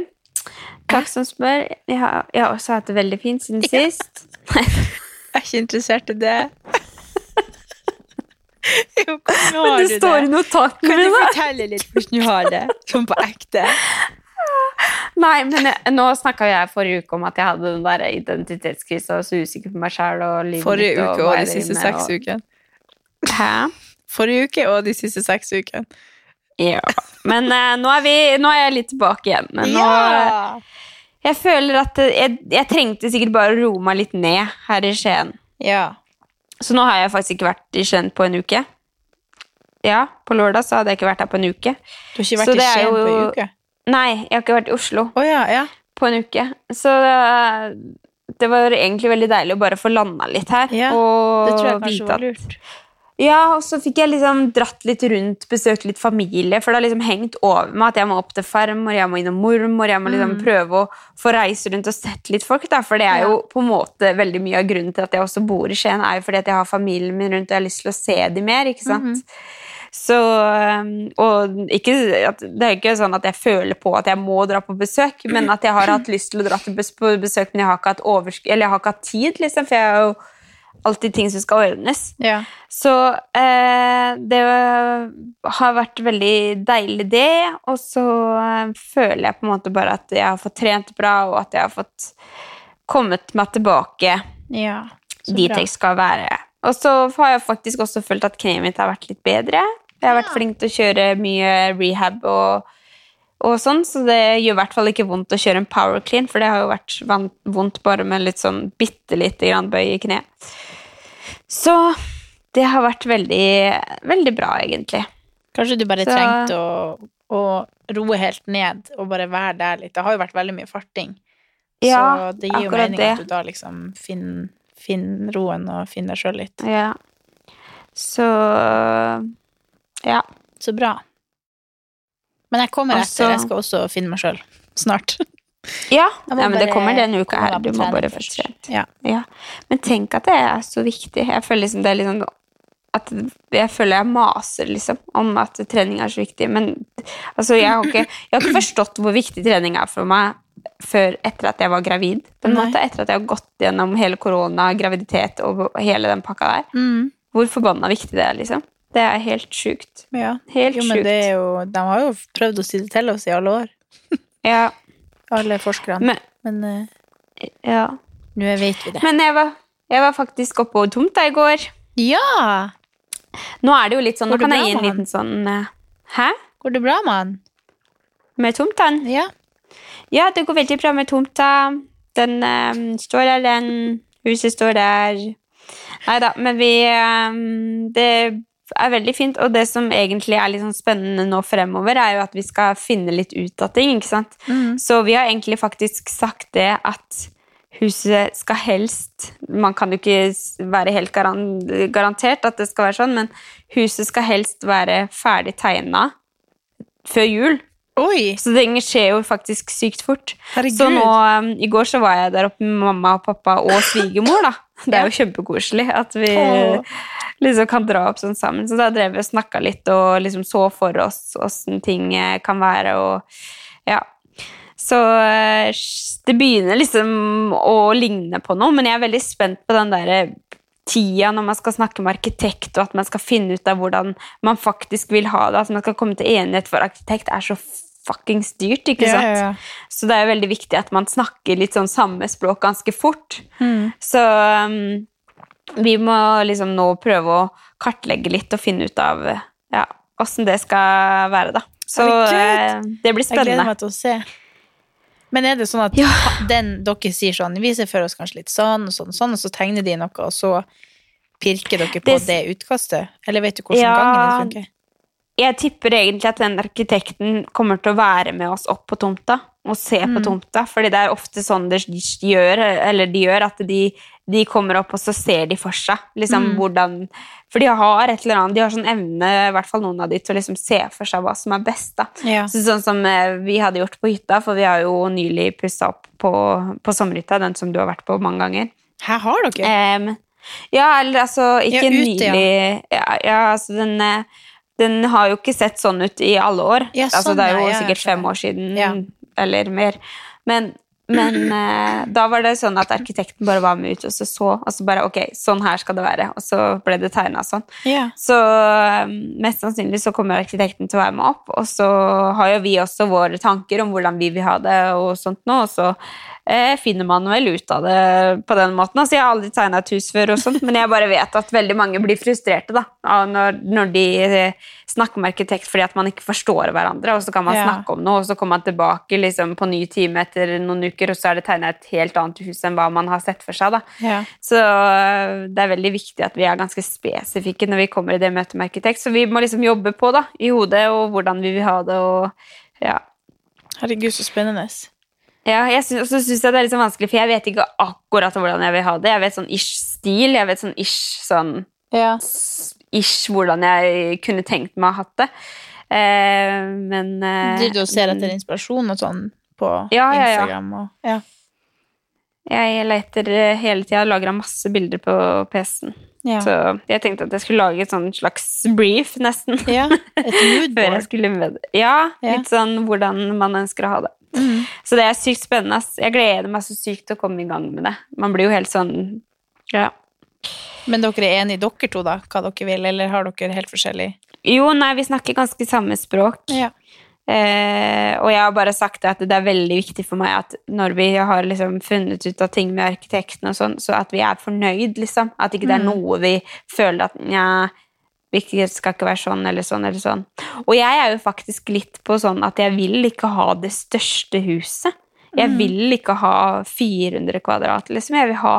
Takk som spør. Jeg har, jeg har også hatt det veldig fint siden sist.
Jeg er ikke interessert i det. [LAUGHS] jo, hvordan har
Men
du
det står i notatene
Kan du
mine.
fortelle litt hvordan du har [LAUGHS] det? Sånn på ekte.
Nei, men jeg, nå snakka jeg forrige uke om at jeg hadde den der identitetskrisa og så usikker på meg sjæl og livet
Forrige
mitt og
uke
hva
og de
jeg driver
siste
med,
seks
og-
ukene.
Hæ?
Forrige uke og de siste seks ukene.
Ja. Men eh, nå, er vi, nå er jeg litt tilbake igjen. Men nå, Jeg føler at eh, jeg, jeg trengte sikkert bare å roe meg litt ned her i Skien.
ja!
Så nå har jeg faktisk ikke vært i Skien på en uke. Ja, på lørdag så hadde jeg ikke vært her på en uke.
Du har ikke
Så
vært i
det er
Skien på en
jo-
uke?
Nei, jeg har ikke vært i Oslo
Å ja, ja.
på en uke. Så eh, det var egentlig veldig deilig å bare få landa litt her.
Ja,
og
Det tror jeg kanskje
vite
var
at-
lurt.
Ja, og så fikk jeg liksom dratt litt rundt, besøkt litt familie, for det har liksom hengt over meg at jeg må opp til farmor, jeg må innom mormor, jeg må liksom prøve å få reise rundt og sett litt folk, da, for det er jo på en måte veldig mye av grunnen til at jeg også bor i Skien, er jo fordi at jeg har familien min rundt, og jeg har lyst til å se dem mer, ikke sant? Så, øhm, og ikke, at, det er ikke sånn at jeg føler på at jeg må dra på besøk, men at jeg har hatt lyst til å dra til bes på besøk, men jeg har ikke hatt, oversk eller jeg har ikke hatt tid, liksom, for jeg har jo alltid ting som skal ordnes.
Ja.
Så eh, det har vært veldig deilig, det. Og så eh, føler jeg på en måte bare at jeg har fått trent bra, og at jeg har fått kommet meg tilbake
ja. Så
dit
bra.
jeg skal være. Og så har jeg faktisk også følt at kneet mitt har vært litt bedre. Jeg har vært flink til å kjøre mye rehab og, og sånn, så det gjør i hvert fall ikke vondt å kjøre en power clean, for det har jo vært van- vondt bare med litt sånn bitte lite grann bøy i kneet. Så det har vært veldig, veldig bra, egentlig.
Kanskje du bare
Så-
trengte å, å roe helt ned og bare være der litt. Det har jo vært veldig mye farting.
Ja,
så det gir jo
akkurat
mening
det.
at du da liksom finner finn roen og finner deg sjøl litt.
Ja. Så Ja.
Så bra. Men jeg kommer
Altså-
etter. Jeg skal også finne meg sjøl [LAUGHS] snart.
Ja,
Jeg må
ja men
bare-
det kommer denne uka
komme
her.
meg
Du
på
må
trening
bare
først.
få trent.
Ja.
Ja. Men tenk at det er så viktig. Jeg føler liksom det er litt sånn at jeg føler jeg maser liksom om at trening er så viktig, men altså, jeg, har ikke, jeg har ikke forstått hvor viktig trening er for meg før etter at jeg var gravid. på en
Nei.
måte, Etter at jeg har gått
Mm.
gjennom hele korona, graviditet og hele den pakka der. Hvor forbanna viktig det er, liksom. Det er helt sjukt.
Ja.
Helt
jo, men
sjukt.
det er jo, de har jo prøvd å si det til oss i alle år,
Ja.
alle forskerne.
Men,
Men eh,
ja.
nå vet vi det.
men jeg, var, jeg var faktisk oppe og tomta i går.
ja!
Nå er det jo litt sånn,
Går det
nå kan
bra
jeg gi en
med
liten sånn eh, Hæ?
Går det bra med han?
Med tomtaen?
Ja.
Ja, det går veldig bra med tomta. Den eh, står der, den. Huset står der. Nei da, men vi eh, Det er veldig fint. Og det som egentlig er litt sånn spennende nå fremover, er jo at vi skal finne litt ut av ting. ikke sant? Så vi har egentlig faktisk sagt det at huset skal helst Man kan jo ikke s- være helt garan garantert at det skal være sånn, men huset skal helst være ferdig tegna før jul.
Oi!
Så ting skjer jo faktisk sykt fort.
Herregud.
Så nå, um, I går så var jeg der oppe med mamma og pappa og svigermor. da. Det er jo kjempekoselig at vi
Åh.
liksom kan dra opp sånn sammen. Så da drev vi og snakka litt og liksom så for oss åssen ting eh, kan være. og ja. Så eh, det begynner liksom å ligne på noe, men jeg er veldig spent på den derre tida når man skal snakke med arkitekt, og at man skal finne ut av hvordan man faktisk vil ha det. At man skal komme til enighet, for arkitekt er så fuckings dyrt, ikke
Ja,
sant?
ja, ja.
Så det er jo veldig viktig at man snakker litt sånn samme språk ganske fort.
Mm.
Så um, vi må liksom nå prøve å kartlegge litt og finne ut av ja, åssen det skal være, da. Så
Herregud.
eh, det blir
Jeg gleder
spennende.
meg til å se. Men er det sånn at den dere sier sånn, vi ser for oss kanskje litt sånn og sånn, og sånn, og så tegner de noe, og så pirker dere på det,
Det-
utkastet? Eller vet du hvordan
Ja.
gangen det funker?
Jeg tipper egentlig at den arkitekten kommer til å være med oss opp på tomta og se på tomta, fordi det er ofte sånn det gjør, eller de gjør at de, de kommer opp og så ser de for seg liksom hvordan For de har et eller annet, de har sånn evne, i hvert fall noen av de, til å liksom se for seg hva som er best. da.
Ja.
Så sånn som eh, vi hadde gjort på hytta, for vi har jo nylig pussa opp på, på sommerhytta, den som du har vært på mange ganger.
Her har dere!
Em, ja, eller altså Ikke
Ja, ute, ja.
nylig ja. ja, altså den eh, Den har jo ikke sett sånn ut i alle år.
Ja,
altså,
sånn,
det er
ja,
jo
ja, jeg
sikkert fem
skjønner.
år siden
Ja.
eller mer. Men, men
[CLEARS THROAT]
eh, da var det sånn at arkitekten bare var med ut og så så. Og så bare ok, sånn her skal det være. Og så ble det tegna sånn.
Ja.
Så eh, mest sannsynlig så kommer arkitekten til å være med opp, og så har jo vi også våre tanker om hvordan vi vil ha det og sånt nå, og så eh, finner man vel ut av det på den måten. Altså, jeg har aldri tegna et hus før og sånt, men jeg bare vet at veldig mange blir frustrerte da, av når, når de eh, snakker med arkitekt fordi at man ikke forstår hverandre, og så kan man
Ja.
snakke om noe, og så kommer man tilbake liksom, på ny time etter noen uker, og så er det tegna et helt annet hus enn hva man har sett for seg da.
Ja.
Så øh, det er veldig viktig at vi er ganske spesifikke når vi kommer i det møtet med arkitekt. Så vi må liksom jobbe på da, i hodet og hvordan vi vil ha det. Og ja.
Herregud, så spennende.
Ja, jeg syns- Og så syns jeg det er litt sånn vanskelig, for jeg vet ikke akkurat hvordan jeg vil ha det. Jeg vet sånn ish stil. jeg vet sånn ish sånn
Ja.
ish hvordan jeg kunne tenkt meg å ha hatt det. Eh, men eh,
Driver du og ser etter inspirasjon og sånn på
Ja, ja, ja.
Instagram? Og, ja.
Jeg leter eh, hele tida og lager masse bilder på PC-en.
Ja.
Så jeg tenkte at jeg skulle lage et sånn slags brief, nesten. [LAUGHS]
Ja, et mood
Før jeg
board.
skulle med det. Ja,
Ja. Mm.
litt sånn hvordan man ønsker å ha det. Så det er sykt spennende. ass. Jeg gleder meg så sykt til å komme i gang med det. Man blir jo helt sånn ja.
Men dere er enige, dere to, da, hva dere vil, eller har dere helt forskjellig?
Jo, nei, vi snakker ganske samme språk.
Ja.
Eh, og jeg har bare sagt at det er veldig viktig for meg at når vi har liksom funnet ut av ting med arkitekten, og sånn, så at vi er fornøyd, liksom. At ikke det er noe vi føler at nja, vi ikke- skal ikke være sånn eller sånn eller sånn. Og jeg er jo faktisk litt på sånn at jeg vil ikke ha det største huset. Jeg vil ikke ha 400 kvadrat, liksom. Jeg vil ha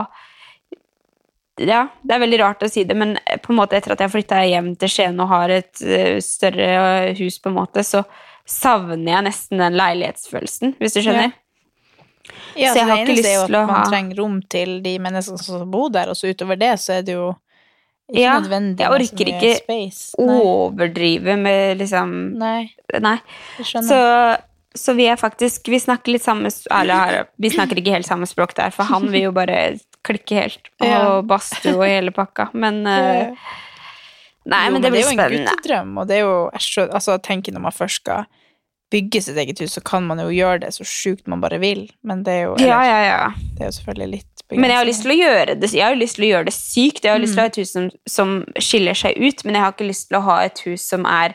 ja, det er veldig rart å si det, men eh, på en måte etter at jeg flytta hjem til Skien og har et eh, større hus, på en måte, så savner jeg nesten den leilighetsfølelsen, hvis du skjønner.
Ja, så
Så jeg
det
har ikke
eneste er jo
lyst
at
til å
man
ha-
trenger rom til de menneskene som bor der, og så utover det så er det jo ikke
Ja,
nødvendig
jeg
med så
orker
mye
ikke-
space.
Overdrive med liksom
Nei, nei,
Nei.
jeg skjønner.
Så, så vi er faktisk Vi snakker litt samme s- Eller vi snakker ikke helt samme språk der, for han vil jo bare klikke helt.
[LAUGHS]
Og
Ja.
badstue og hele pakka. Men eh,
Ja.
Nei,
Jo,
men det blir
Det er jo en
spennende.
guttedrøm, og det er jo jeg skjø- altså, jeg tenker når man først skal bygge sitt eget hus, så kan man jo gjøre det så sjukt man bare vil. Men det er jo,
Ja, ja, ja.
Det er jo selvfølgelig litt
Men jeg har lyst til å gjøre det Jeg har jo lyst til å gjøre det sykt. Jeg har lyst til å ha et hus som, som skiller seg ut, men jeg har ikke lyst til å ha et hus som er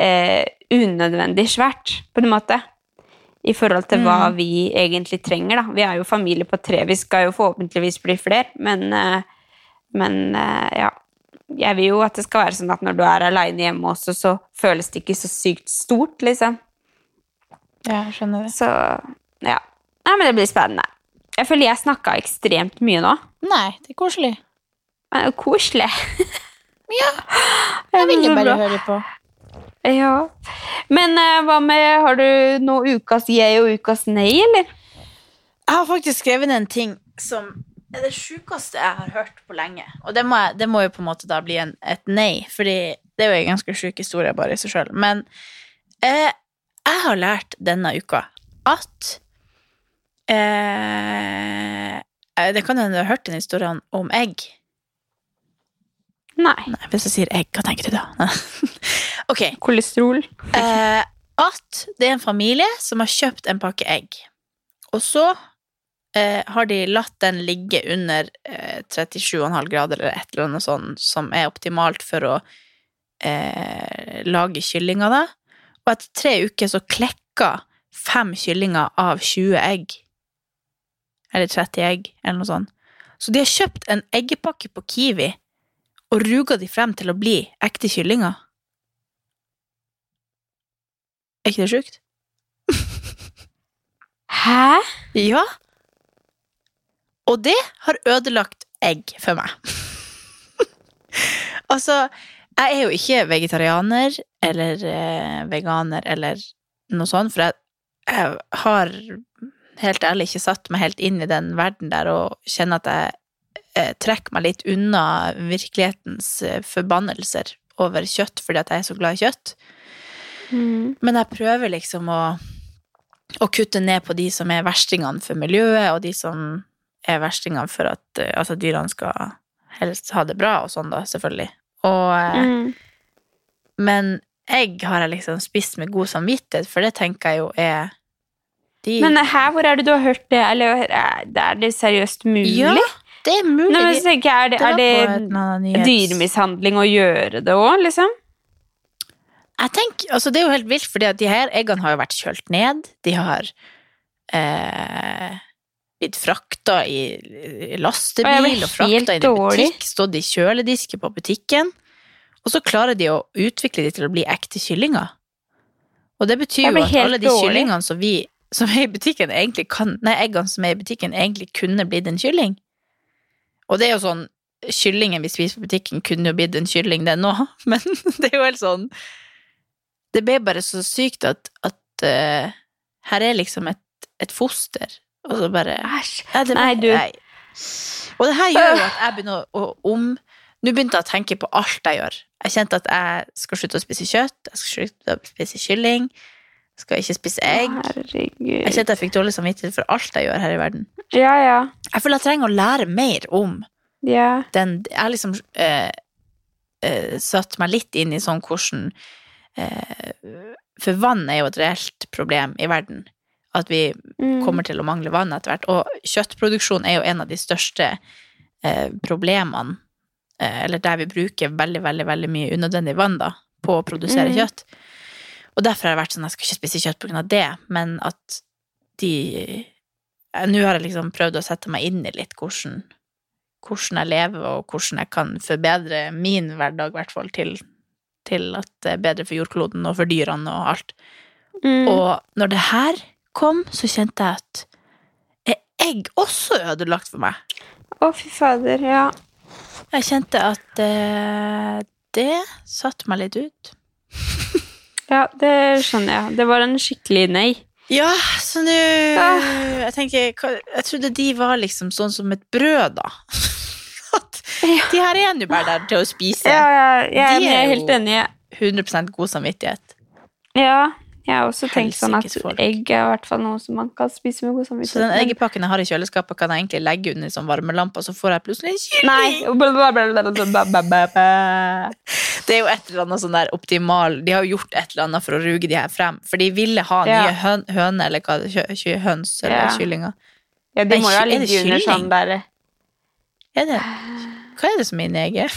eh, unødvendig svært, på en måte. I forhold til hva
Mm.
vi egentlig trenger. Da. Vi er jo familie på tre. Vi skal jo forhåpentligvis bli flere, men, eh, men eh, ja. Jeg vil jo at det skal være sånn at når du er aleine hjemme også, så føles det ikke så sykt stort, liksom.
Ja, jeg skjønner det.
Så ja. Nei, men det blir spennende. Jeg føler jeg snakka ekstremt mye nå.
Nei, det er koselig.
Men det er jo koselig.
Jeg vil jo
Det er
bare
bra.
høre på.
Ja. Men eh, hva med Har du noe ukas jeg og ukas nei, eller?
Jeg har faktisk skrevet ned en ting som er det sjukeste jeg har hørt på lenge. Og det må, jeg, det må jo på en måte da bli en, et nei, fordi det er jo en ganske sjuk historie bare i seg sjøl. Men eh, jeg har lært denne uka at eh, eh, Det kan hende du har hørt den historien om egg.
Nei.
Nei, Hvis jeg sier egg, hva tenker du da? [LAUGHS] ok.
Kolesterol.
Eh, at det er en familie som har kjøpt en pakke egg. Og så eh, har de latt den ligge under eh, 37,5 grader eller et eller annet sånt som er optimalt for å eh, lage kyllinger, da. Og etter tre uker så klekka fem kyllinger av 20 egg. Eller 30 egg, eller noe sånt. Så de har kjøpt en eggepakke på Kiwi og ruga de frem til å bli ekte kyllinger. Er ikke det sjukt?
Hæ?
Ja. Og det har ødelagt egg for meg. [LAUGHS] altså, jeg er jo ikke vegetarianer eller eh, veganer eller noe sånt, for jeg, jeg har helt ærlig ikke satt meg helt inn i den verden der og kjenner at jeg eh, trekker meg litt unna virkelighetens eh, forbannelser over kjøtt fordi at jeg er så glad i kjøtt. Men jeg prøver liksom å, å kutte ned på de som er verstingene for miljøet, og de som er verstingene for at eh, altså, dyrene skal helst ha det bra, og sånn, da, selvfølgelig. Og,
Mm.
eh, Men egg har jeg liksom spist med god samvittighet, for det tenker jeg jo er de
Men eh, her, hvor er det du har hørt det? Eller er det, er det seriøst mulig?
Ja, det er mulig.
Nei, men så tenker jeg, Er det,
var på en
er
annen
det
nyhets-
dyremishandling å gjøre det òg, liksom?
Jeg tenker, altså Det er jo helt vilt, fordi at de her eggene har jo vært kjølt ned. De har eh, blitt frakta i
Og jeg
lastebil
blir
og frakta
helt
inn i
dårlig.
butikk. Stått i kjøledisken på butikken. Og så klarer de å utvikle de til å bli ekte kyllinger. Og det betyr
Jeg
jo
blir
at
helt
alle de
dårlig.
kyllingene som, vi, som er i butikken egentlig kan, nei, eggene som er i butikken, egentlig kunne blitt en kylling. Og det er jo sånn Kyllingen vi spiser på butikken, kunne jo blitt en kylling, det nå, [LAUGHS] men det er jo helt sånn det ble bare så sykt at, at eh, her er liksom et, et foster, og så bare
Æsj.
Nei, det ble-
Nei, du. Øh.
Og det her gjør jo at jeg begynner å, å om Nå begynte jeg å tenke på alt jeg gjør. Jeg kjente at jeg skal slutte å spise kjøtt, jeg skal slutte å spise kylling, jeg skal ikke spise egg. Jeg
Herregud.
kjente jeg fikk dårlig samvittighet for alt jeg gjør her i verden.
Ja, ja.
Jeg føler jeg trenger å lære mer om
ja.
den Jeg har liksom eh, eh, satt meg litt inn i sånn hvordan eh, For vann er jo et reelt problem i verden. At vi
Mm.
kommer til å mangle vann etter hvert. Og kjøttproduksjon er jo en av de største eh, problemene. Eh, eller der vi bruker veldig, veldig, veldig mye unødvendig vann da, på å produsere
Mhm.
kjøtt. Og derfor har jeg vært sånn, jeg skal ikke spise kjøtt på grunn av det, men at de... Eh, Nå har jeg liksom prøvd å sette meg inn i litt hvordan, hvordan jeg lever, og hvordan jeg kan forbedre min hverdag, i hvert fall, til, til at det er bedre for jordkloden og for dyrene og alt.
Mm.
Og når det her kom, så kjente jeg at er egg også ødelagt for meg.
Å, fy fader. Ja.
Jeg kjente at eh, det satte meg litt ut.
ja, det skjønner jeg. Det var en skikkelig nei.
Ja, så nå
Ah.
Jeg tenker, hva- jeg trodde de var liksom sånn som et brød, da. [LAUGHS] At de her er nå bare der til å spise.
Ja, ja, jeg,
De er
men jeg er
jo-
helt enig. jeg.
100 god samvittighet.
Ja, Jeg har også tenkt sånn at
Helsikes folk.
egg er i hvert fall noe som man kan spise med god samvittighet.
Så den
men- [LAUGHS]
eggepakken jeg har i kjøleskapet, kan jeg egentlig legge under sånn varmelampe, og så får jeg plutselig en kylling.
Nei. blablabla.
Det er jo et eller annet sånn der optimal De har jo gjort et eller annet for å ruge de her frem. For de ville ha
Ja.
nye høn, høne, eller hva det kjø, kjø, høns eller
Ja.
kyllinger.
Ja, de
Nei,
må jo ha
er det
ligget under
kylling?
sånn der
Er det, hva er det som er inni [LAUGHS] egget?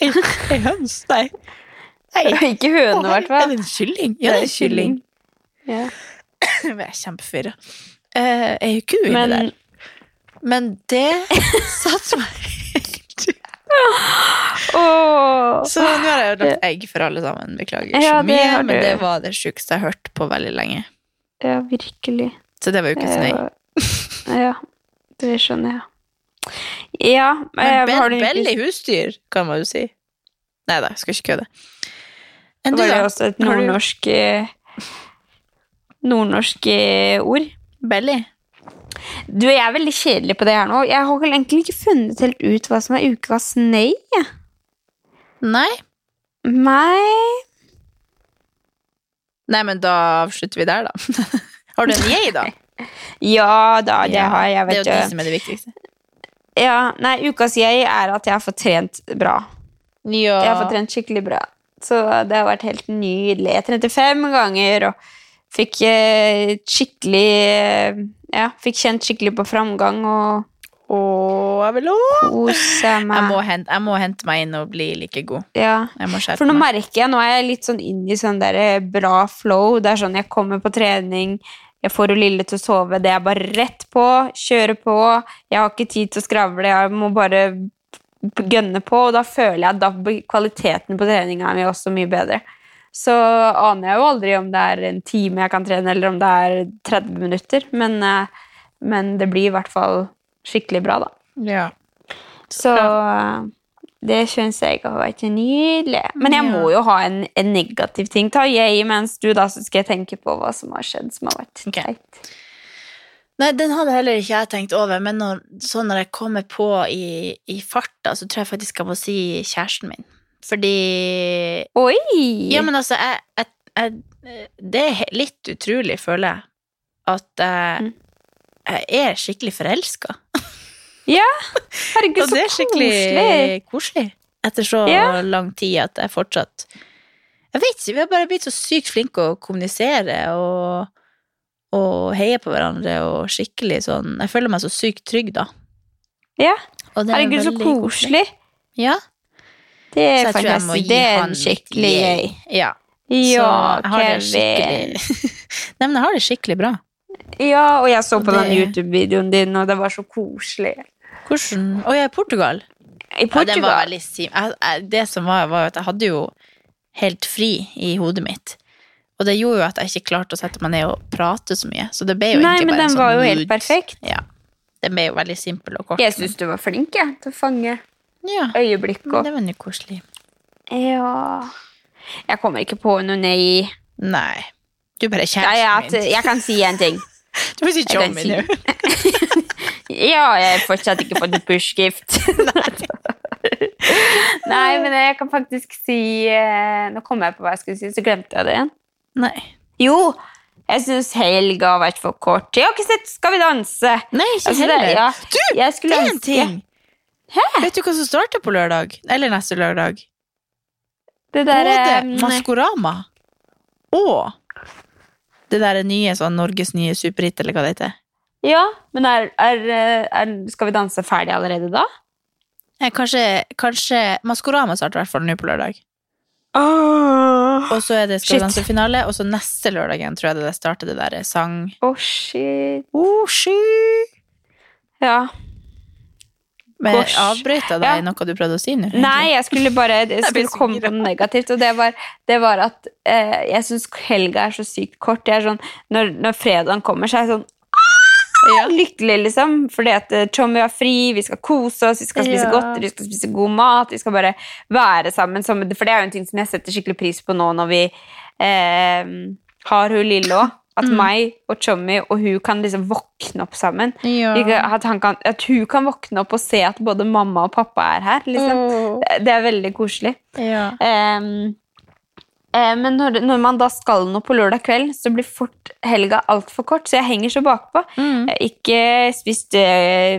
Er det høns? Nei. Nei.
Ikke høne, i hvert
Er
fall.
det en kylling? Ja, det er kylling. [CLEARS THROAT]
Ja.
Jeg er kjempeforvirra. Eh, er jo ku inni
Men
der? Men
[LAUGHS]
det satt meg helt ut.
Åh.
Så nå har jeg ødelagt egg for alle sammen. Beklager
Ja,
så
det
mye,
har du.
men det var det sjukeste jeg har hørt på veldig lenge.
Ja, virkelig.
Så det var ukens nei.
Eh, Ja, det skjønner jeg. Ja,
Men
eh, har
Bell,
du
Bell
ukens-
er husdyr, kan man jo si. Nei da, skal ikke kødde. Enn
Det
du,
var jo
da?
også et
Har du-
nordnorsk eh, Nordnorsk eh, ord.
Belly?
Du, jeg er veldig kjedelig på det her nå. Jeg har egentlig ikke funnet helt ut hva som er ukas nei.
Nei?
Nei
Nei, men da avslutter vi der, da. [LAUGHS] Har du en yay, da?
Ja da, det
Ja,
har jeg, vet
Det er jo de
du.
som er det viktigste.
Ja, nei, ukas jeg er at jeg har fått trent bra.
Ja.
Jeg har fått trent skikkelig bra. Så det har vært helt nydelig. Jeg trente fem ganger og fikk eh, skikkelig eh, Ja, fikk kjent skikkelig på framgang og
Åh, jeg vil også.
kosa
Jeg
meg.
må, hente, jeg må hente meg inn og bli like god.
Ja.
Jeg må skjerpe
For nå
meg.
merker jeg, nå er jeg litt sånn inn i sånn der eh, bra flow. Det er sånn jeg kommer på trening, jeg får hun lille til å sove. Det er bare rett på, kjøre på. Jeg har ikke tid til å skravle, jeg må bare p- gønne på. Og da føler jeg at da blir kvaliteten på treninga mi også mye bedre. Så aner jeg jo aldri om det er en time jeg kan trene, eller om det er 30 minutter. Men, eh, men det blir i hvert fall skikkelig bra, da.
Ja.
Så eh, det syns jeg har vært nydelig. Men jeg må jo ha en, en negativ ting. Ta jeg mens du, da, så skal jeg tenke på hva som har skjedd som har vært
Ok.
teit.
Nei, den hadde heller ikke jeg tenkt over, men når, så når jeg kommer på i, i farta, så tror jeg faktisk jeg må si kjæresten min. Fordi
Oi!
Ja, men altså, jeg, jeg, jeg, det er he- litt utrolig, føler jeg, at jeg, jeg er skikkelig forelska.
Herregud,
Og
så
det er
koselig!
skikkelig koselig etter så
Ja.
lang tid at jeg fortsatt Jeg vet ikke, vi har bare blitt så sykt flinke å kommunisere og, og heie på hverandre og skikkelig sånn Jeg føler meg så sykt trygg, da.
Ja.
Og det er
Herregud, så
veldig
koselig!
Ja. Så
Det er
jeg tror jeg må gi
fantastisk. Det er
han
en
litt
skikkelig jeg.
Ja. så
Ja,
jeg har det
Kevin.
skikkelig [LAUGHS] Nei, men jeg har det skikkelig bra.
Ja, og jeg så på
Og
den
det-
YouTube-videoen din, og det var så koselig.
Hvordan Å, jeg er i Portugal.
I
Ja, den var
Portugal.
veldig sim. Jeg, jeg, det som var, var jo at jeg hadde jo helt fri i hodet mitt. Og det gjorde jo at jeg ikke klarte å sette meg ned og prate så mye. Så det ble jo
Nei,
egentlig
men
bare en
den
sånn
var jo helt
mood.
perfekt.
Ja. Den ble jo veldig simpel og kort.
Jeg syns du var flink jeg, til å fange
men- ja,
øyeblikk
men
og
det var jo koselig.
Ja Jeg kommer ikke på noe nei.
Nei. Du er bare
Jeg,
kjæresten
jeg,
min.
jeg kan si en ting.
[LAUGHS] Du må si
jeg kan
Tommy
si-
nå.
Ja, jeg har fortsatt ikke fått [LAUGHS] pushgift. Nei, men jeg kan faktisk si eh, Nå kom jeg på hva jeg skulle si, så glemte jeg det igjen.
Nei.
Jo, jeg syns helga har vært for kort. Jeg har ikke sett Skal vi danse.
Nei, ikke
Altså, det-
heller.
ja,
Du,
jeg skulle
det er en
ønske-
ting! Vet du hva som starter på lørdag? Eller neste lørdag?
Det
Både
der, eh,
Maskorama og det der nye sånn Norges nye superhit, eller hva det heter.
ja, men er, er, eh, er Skal vi danse ferdig allerede da?
Eh, Kanskje, kanskje Maskorama starter i hvert fall nå på lørdag.
Åh,
Og så er det Skal
Shit.
vi danse finale, og så neste lørdag igjen tror jeg det der starter det der sang
shit.
oh, sky.
Ja.
Men
Gosh.
avbrøyta deg
Ja.
noe du prøvde å si nå? egentlig?
Nei, jeg skulle
[LAUGHS]
bare jeg
ble
skulle
så
komme på noe negativt. Og det var, det var at eh, jeg syns helga er så sykt kort. Jeg er sånn, når, når fredagen kommer, så er jeg sånn
Ja.
lykkelig, liksom. Fordi at eh, Tommy har fri, vi skal kose oss, vi skal spise
Ja.
godteri, vi skal spise god mat. Vi skal bare være sammen. Som, for det er jo en ting som jeg setter skikkelig pris på nå når vi eh, har hun lille òg. At
Mm.
meg og Tommy og hun kan liksom våkne opp sammen.
Ja.
Ikke At, han kan, at hun kan våkne opp og se at både mamma og pappa er her. Liksom.
Åh.
Det- Det er veldig koselig.
Ja.
Ehm, Eh, men når, når man da skal noe på lørdag kveld, så blir fort helga altfor kort, så jeg henger så bakpå.
Mm.
Jeg har ikke spist eh,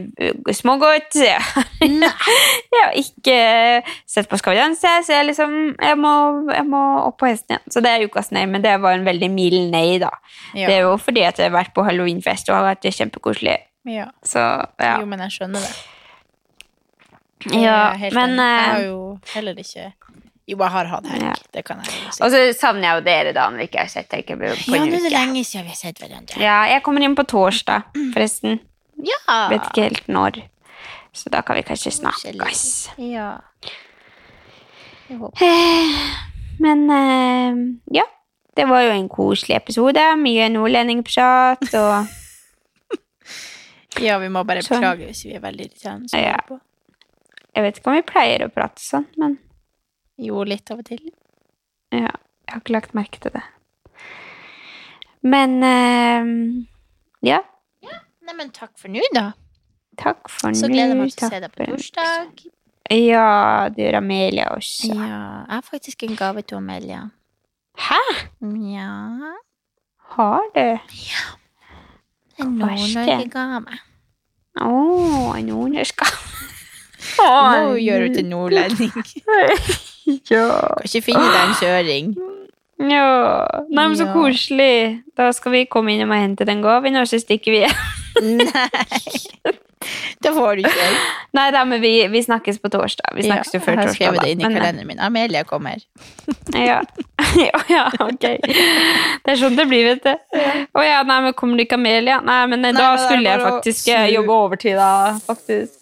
smågodt, jeg har- [LAUGHS] jeg har ikke sett på Skal vi danse, så jeg, liksom, jeg, må, jeg må opp på hesten igjen. Så det er ukas nei, men det var en veldig mild nei, da.
Ja.
Det er jo fordi at jeg har vært på halloweenfest og har vært kjempekoselig.
Ja.
Så ja.
Jo, men jeg skjønner det. Jeg
Ja,
er helt
men
enig. Jeg har
eh,
jo heller ikke Jo, jeg har hatt helg.
Ja.
Det kan jeg jo si.
Og så savner jeg jo dere, da, når vi ikke har sett dere
ja,
på en
nå er det
uke.
lenge siden vi har sett hverandre.
Ja, jeg kommer inn på torsdag, forresten.
Mm. Ja.
Vet ikke helt når. Så da kan vi kanskje snakkes.
Ja.
Eh, Men eh, ja. Det var jo en koselig episode. Mye nordlendingprat og
ja, vi må bare
Sånn.
beklage hvis vi er veldig irriterende. som
Ja.
hører på.
Jeg vet ikke om vi pleier å prate sånn, men
Jo, litt av og til.
ja, jeg har ikke lagt merke til det. Men eh, ja.
Nei, men takk for nå, da.
Takk for nå.
Så gleder jeg meg til å
Takk
se deg på
for nå.
torsdag.
Ja, det gjør Amelia også.
Ja, jeg har faktisk en gave til Amelia.
Hæ?
Ja.
Har du?
En
Hva er det?
Nord-Norge-gave.
Å, nordnorsk.
[LAUGHS] Nå gjør hun til nordlending.
Ja.
Kan ikke finne deg en kjøring.
ja. Nei, men så
Ja.
koselig. Da skal vi komme inn og hente den gaven, og så stikker vi.
Nei. Det får du ikke.
[LAUGHS] Nei da, men vi, vi snakkes på torsdag. Vi snakkes jo før
jeg har
torsdag.
skrevet
da.
det inn i
Men, eh,
kalenderen min. Amelia kommer.
Ja. [LAUGHS] ja, ja, ok. Det er sånn det blir, vet du. Å ja, nei, men kommer det ikke Amelia? Nei, men eh, da
men det er
skulle jeg
bare å
faktisk
snu.
eh, jobbe overtid,
[LAUGHS]
da. Faktisk.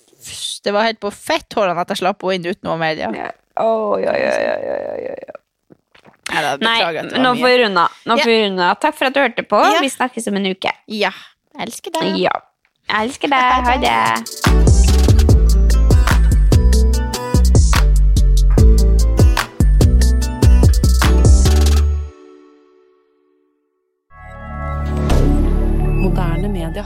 Det var helt på fett hårene at jeg slapp henne inn uten Amelia.
Ja. Å, ja, ja, ja, ja, ja, ja.
Nei, da,
Nei,
beklager at det var
nå
mye.
får vi runde av. Nå
Ja.
får vi runde av. Takk for at du hørte på.
Ja.
Vi snakkes om en uke.
Ja. Jeg elsker deg.
Ja. Jeg elsker deg. Ha det.
Moderne media.